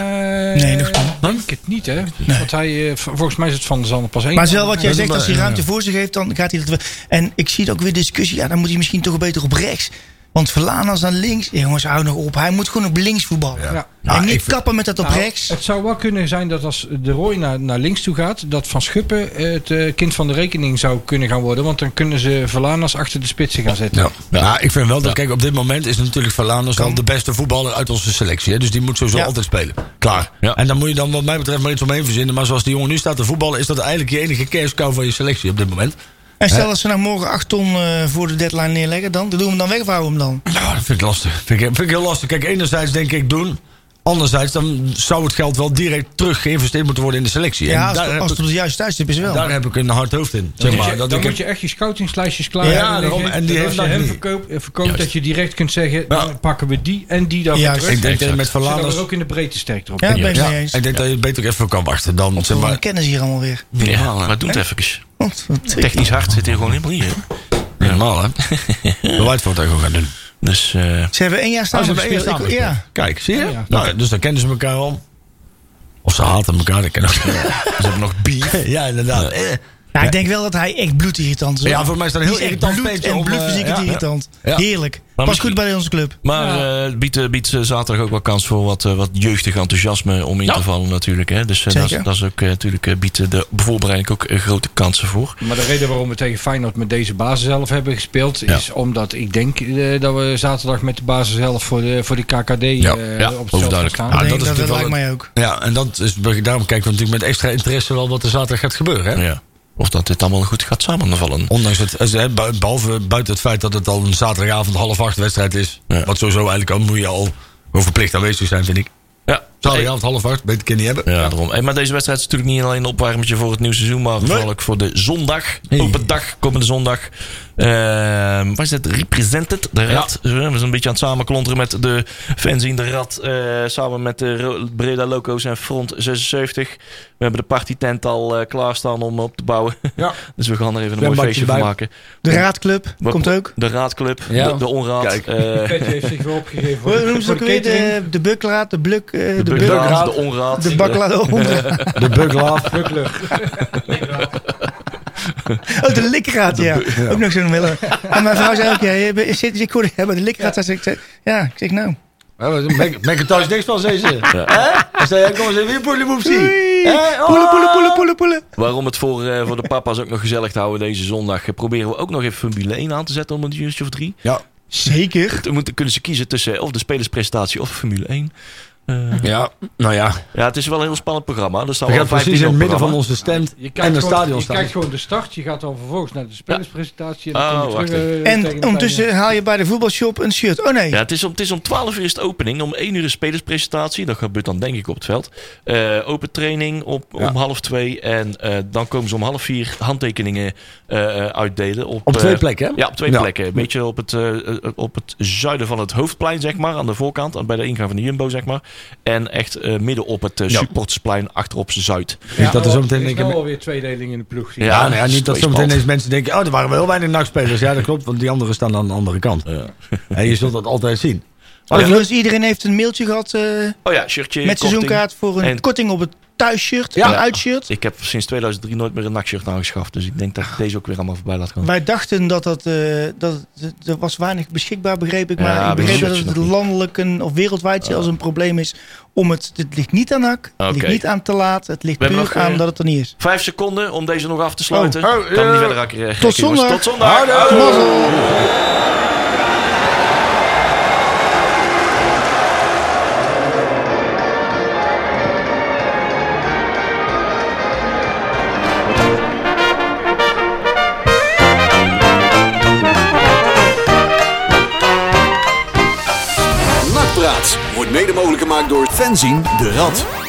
Speaker 4: Nee, nog niet.
Speaker 5: denk Eh, het niet, hè? Want hij, eh, v- volgens mij is het van de Zander pas één. Nou,
Speaker 4: Maar het is wel wat jij
Speaker 3: Ja,
Speaker 4: zegt,
Speaker 3: maar-
Speaker 4: als hij ruimte voor zich heeft, dan gaat hij dat wel. En ik zie het ook weer discussie, ja, dan moet hij misschien toch beter op rechts. Want Verlanas naar links. Ja, jongens, hou nog op. Hij moet gewoon op links voetballen.
Speaker 5: Ja.
Speaker 3: Nou,
Speaker 4: en niet
Speaker 3: ik vind-
Speaker 4: kappen met dat op
Speaker 5: Nou,
Speaker 4: rechts.
Speaker 5: Het zou wel kunnen zijn dat als de Roy naar, naar links toe gaat, dat Van Schuppen eh, het eh, kind van de rekening zou kunnen gaan worden. Want dan kunnen ze Verlanas achter de spitsen gaan zetten.
Speaker 3: Ja. Maar ik vind wel dat, kijk, op dit moment is natuurlijk Verlaanders wel de beste voetballer uit onze selectie. Hè? Dus die moet sowieso
Speaker 4: Ja.
Speaker 3: altijd spelen. Klaar.
Speaker 2: Ja.
Speaker 3: En dan moet je dan, wat mij betreft, maar iets omheen verzinnen. Maar zoals die jongen nu staat te voetballen, is dat eigenlijk je enige kerstkou van je selectie op dit moment.
Speaker 4: En stel dat ze nou morgen 8 ton eh, voor de deadline neerleggen, dan doen we hem dan weg of houden we hem dan?
Speaker 3: Ja, dat vind ik lastig. Vind ik, vind ik heel lastig. Kijk, enerzijds denk ik doen. Anderzijds dan zou het geld wel direct terug geïnvesteerd moeten worden in de selectie. En
Speaker 4: Ja, als,
Speaker 3: daar,
Speaker 4: het-
Speaker 3: heb
Speaker 4: als het
Speaker 3: ik,
Speaker 4: op de juiste thuis is wel.
Speaker 3: daar heb ik een hard hoofd in. Zeg
Speaker 5: Dan moet
Speaker 3: maar.
Speaker 5: je-
Speaker 3: dat
Speaker 5: dan
Speaker 3: ik
Speaker 5: moet
Speaker 3: heb,
Speaker 5: je echt je scoutingslijstjes klaar
Speaker 3: Ja,
Speaker 5: hebben liggen.
Speaker 3: daarom. En die heeft
Speaker 5: Dat als je
Speaker 3: dat
Speaker 5: hem
Speaker 3: niet.
Speaker 5: verkoopt, eh, verkoopt
Speaker 2: Juist.
Speaker 5: dat je direct kunt zeggen, nou, dan pakken we die en die dan weer
Speaker 4: Juist.
Speaker 5: terug.
Speaker 3: ik denk dat je
Speaker 2: Exact.
Speaker 3: met
Speaker 5: Zodat
Speaker 3: Verlaanders.
Speaker 5: we ook in de breedte sterk erop.
Speaker 4: ja, dat ben ik
Speaker 3: Ja,
Speaker 4: mee
Speaker 3: ik
Speaker 4: eens.
Speaker 3: denk dat je het beter even kan wachten. Dan, zeg
Speaker 4: We
Speaker 3: maar,
Speaker 4: kennen ze hier allemaal weer.
Speaker 2: Ja, maar doe het even.
Speaker 3: Oh,
Speaker 4: Want,
Speaker 2: Technisch hart zit hier gewoon helemaal niet in.
Speaker 3: helemaal, hè? Bewijs voor wat ik ook gaan doen.
Speaker 2: Dus... eh,
Speaker 4: Ze hebben één jaar
Speaker 3: Oh,
Speaker 4: staan.
Speaker 3: ze hebben één
Speaker 4: gespeeld.
Speaker 3: jaar
Speaker 4: Ik-
Speaker 3: samen
Speaker 4: ja.
Speaker 3: Kijk, zie je?
Speaker 5: Ja, ja.
Speaker 3: Nou, dus dan kennen ze elkaar al. Of ze haten elkaar, dat ken ik
Speaker 2: Ze hebben nog bier.
Speaker 3: Ja, inderdaad. Eh.
Speaker 4: Ja, ik denk wel dat hij echt bloedirritant is. hoor.
Speaker 3: Ja, voor mij is dat een
Speaker 4: Die
Speaker 3: heel
Speaker 4: is echt
Speaker 3: irritant
Speaker 4: bloed-
Speaker 3: peetje
Speaker 4: en
Speaker 3: om, eh,
Speaker 4: bloedfysiek
Speaker 3: ja.
Speaker 4: irritant.
Speaker 3: Ja.
Speaker 4: Heerlijk. Pas
Speaker 2: misschien-
Speaker 4: goed bij onze club.
Speaker 2: Maar eh, biedt, eh, biedt eh, zaterdag ook wel kans voor wat, eh, wat jeugdig enthousiasme om in te vallen natuurlijk. Hè? Dus eh, dat, is-
Speaker 4: Zeker.
Speaker 2: dat is ook eh, natuurlijk eh, biedt eh, de voorbereiding ook eh, grote kansen voor.
Speaker 5: Maar de reden waarom we tegen Feyenoord met deze basiself hebben gespeeld... is omdat ik denk eh, dat we zaterdag met de basiself voor de, voor de KKD eh,
Speaker 2: ja,
Speaker 3: Ja,
Speaker 5: op het veld gaan
Speaker 2: overduidelijk.
Speaker 5: staan.
Speaker 3: Ja,
Speaker 4: dat
Speaker 3: dat
Speaker 4: denk, dat, dat
Speaker 3: is natuurlijk wel
Speaker 4: lijkt
Speaker 3: het-
Speaker 4: mij ook.
Speaker 3: Ja, en dat is, daarom kijken we natuurlijk met extra interesse wel wat er zaterdag gaat gebeuren. Hè?
Speaker 2: Ja. Of dat dit allemaal goed gaat samenvallen.
Speaker 3: Ondanks het, eh, ze- bu- behalve buiten het feit dat het al een zaterdagavond half acht wedstrijd is.
Speaker 2: Ja.
Speaker 3: Wat sowieso eigenlijk al moet je al gewoon verplicht aanwezig zijn, vind ik.
Speaker 2: Ja,
Speaker 3: Zaterdagavond half acht, beter kan je niet hebben.
Speaker 2: Ja, daarom. Hey, maar deze wedstrijd is natuurlijk niet alleen een opwarmetje voor het nieuwe seizoen, maar vooral ook voor de zondag. Open dag, komende zondag. Eh, waar is het? Represented, de Rad. We zijn een beetje aan het samenklonteren met de fans in de Rad. eh, samen met de Ro- Breda Loco's en Front 76. We hebben de partytent al eh, klaarstaan om op te bouwen.
Speaker 5: Ja.
Speaker 2: dus we gaan er even een mooi
Speaker 6: Zwembadje
Speaker 2: feestje van
Speaker 6: bij.
Speaker 2: maken.
Speaker 4: De Raadclub
Speaker 2: Wat-
Speaker 4: komt ook.
Speaker 2: De Raadclub,
Speaker 6: Ja.
Speaker 2: de, de Onraad.
Speaker 6: Kijk.
Speaker 2: eh,
Speaker 5: Petje heeft zich weer opgegeven voor,
Speaker 4: Hoe
Speaker 5: de-
Speaker 4: noemen ze
Speaker 5: voor
Speaker 4: ook
Speaker 5: de
Speaker 4: weer? eh,
Speaker 5: catering.
Speaker 4: De, de Bukraad, de Bluk, eh,
Speaker 2: de, de
Speaker 4: de, Buk-
Speaker 2: Bukraad,
Speaker 6: Bukraad,
Speaker 2: de Onraad.
Speaker 4: de Baklade Honda.
Speaker 3: De Buglaaf.
Speaker 5: Buckler.
Speaker 4: Oh, de Likraad, ja. Ook nog zo'n willen. En mijn vrouw zei ook, ja, je bent- zit, ik hoorde ja, bij de Likraad. zei ze, Ja, ik zeg
Speaker 3: Oh.
Speaker 4: nou.
Speaker 3: Macintosh niks van deze. Hè? Stel jij, kom eens even hier, poeliemoepsie.
Speaker 4: Oei,
Speaker 3: Hè? Oh.
Speaker 4: Poelen, poelen, poelen, poelen, poelen.
Speaker 2: Waarom het voor, eh, voor de papa's ook nog gezellig te houden deze zondag. eh, Proberen we ook nog even Formule 1 aan te zetten om een uurtje of drie.
Speaker 3: Ja.
Speaker 4: Zeker.
Speaker 2: Dan moeten- kunnen ze kiezen tussen eh, of de spelerspresentatie of Formule 1.
Speaker 3: Ja, nou ja.
Speaker 2: Ja, het is wel een heel spannend programma. Er staan
Speaker 3: We
Speaker 2: wel
Speaker 3: gaan
Speaker 2: 15
Speaker 3: precies in het midden
Speaker 2: programma.
Speaker 3: van onze stand
Speaker 5: Je kijkt
Speaker 3: en de
Speaker 5: gewoon-
Speaker 3: stadion
Speaker 5: Je
Speaker 3: staan.
Speaker 5: kijkt gewoon de start. Je gaat dan vervolgens naar de spelerspresentatie. En
Speaker 2: Oh,
Speaker 5: dan kom je
Speaker 2: wacht
Speaker 5: terug, eh, tegen de
Speaker 4: En
Speaker 5: tijd.
Speaker 4: ondertussen haal je bij de voetbalshop een shirt. Oh nee.
Speaker 2: Ja, het is, om, het is om 12 uur is de opening. Om 1 uur is spelerspresentatie. Dat gebeurt dan denk ik op het veld. Eh, open training op, om half 2. En eh, dan komen ze om half 4 handtekeningen eh, eh, uitdelen. Op,
Speaker 3: Op twee
Speaker 2: eh,
Speaker 3: plekken, hè?
Speaker 2: Ja, op twee
Speaker 3: Ja.
Speaker 2: plekken. Een beetje op het, eh, eh, op het zuiden van het hoofdplein, zeg maar. Aan de voorkant, aan- bij de ingang van de Jumbo, zeg maar. En echt eh, midden op het eh, supportersplein, achterop Zuid.
Speaker 3: Niet dat er zo meteen
Speaker 5: Er is
Speaker 3: denk ik-
Speaker 5: nou alweer tweedeling in de ploeg. zie je.
Speaker 2: Ja,
Speaker 3: Ja, nou ja, niet dat
Speaker 2: twee
Speaker 3: zometeen
Speaker 2: spalt.
Speaker 3: eens mensen denken, oh, er waren wel heel weinig nachtspelers. Ja, dat klopt, want die anderen staan aan de andere kant. En je zult dat altijd zien.
Speaker 4: Overigens, iedereen heeft een mailtje gehad eh,
Speaker 2: Oh ja, shirtje, korting.
Speaker 4: met seizoenkaart voor een
Speaker 2: En-
Speaker 4: korting op het thuisshirt
Speaker 3: Ja.
Speaker 4: en uitshirt.
Speaker 2: Ik heb sinds 2003 nooit meer een nachtshirt aangeschaft. Dus ik denk dat ik deze ook weer allemaal voorbij laat gaan.
Speaker 4: Wij dachten dat dat, eh, dat dat- er was weinig beschikbaar, begreep ik. Maar
Speaker 2: Ja,
Speaker 4: ik
Speaker 2: maar
Speaker 4: begreep
Speaker 2: dat zit
Speaker 4: dat
Speaker 2: je
Speaker 4: het
Speaker 2: nog niet.
Speaker 4: landelijk een, of wereldwijd zelfs een probleem is. Om het, het ligt niet aan hak, het ligt
Speaker 2: Oké.
Speaker 4: niet aan te laat. Het ligt
Speaker 2: We hebben
Speaker 4: puur
Speaker 2: nog, eh,
Speaker 4: aan dat het er niet is.
Speaker 2: Vijf seconden om deze nog af te sluiten.
Speaker 3: Oh, oh,
Speaker 2: kan
Speaker 3: eh,
Speaker 2: niet verder raken. eh,
Speaker 4: Tot
Speaker 2: gek, jongens.
Speaker 4: zondag.
Speaker 2: Tot zondag.
Speaker 4: Mazzel.
Speaker 1: Nakpraat wordt mede mogelijk gemaakt door Fenzin de Rad.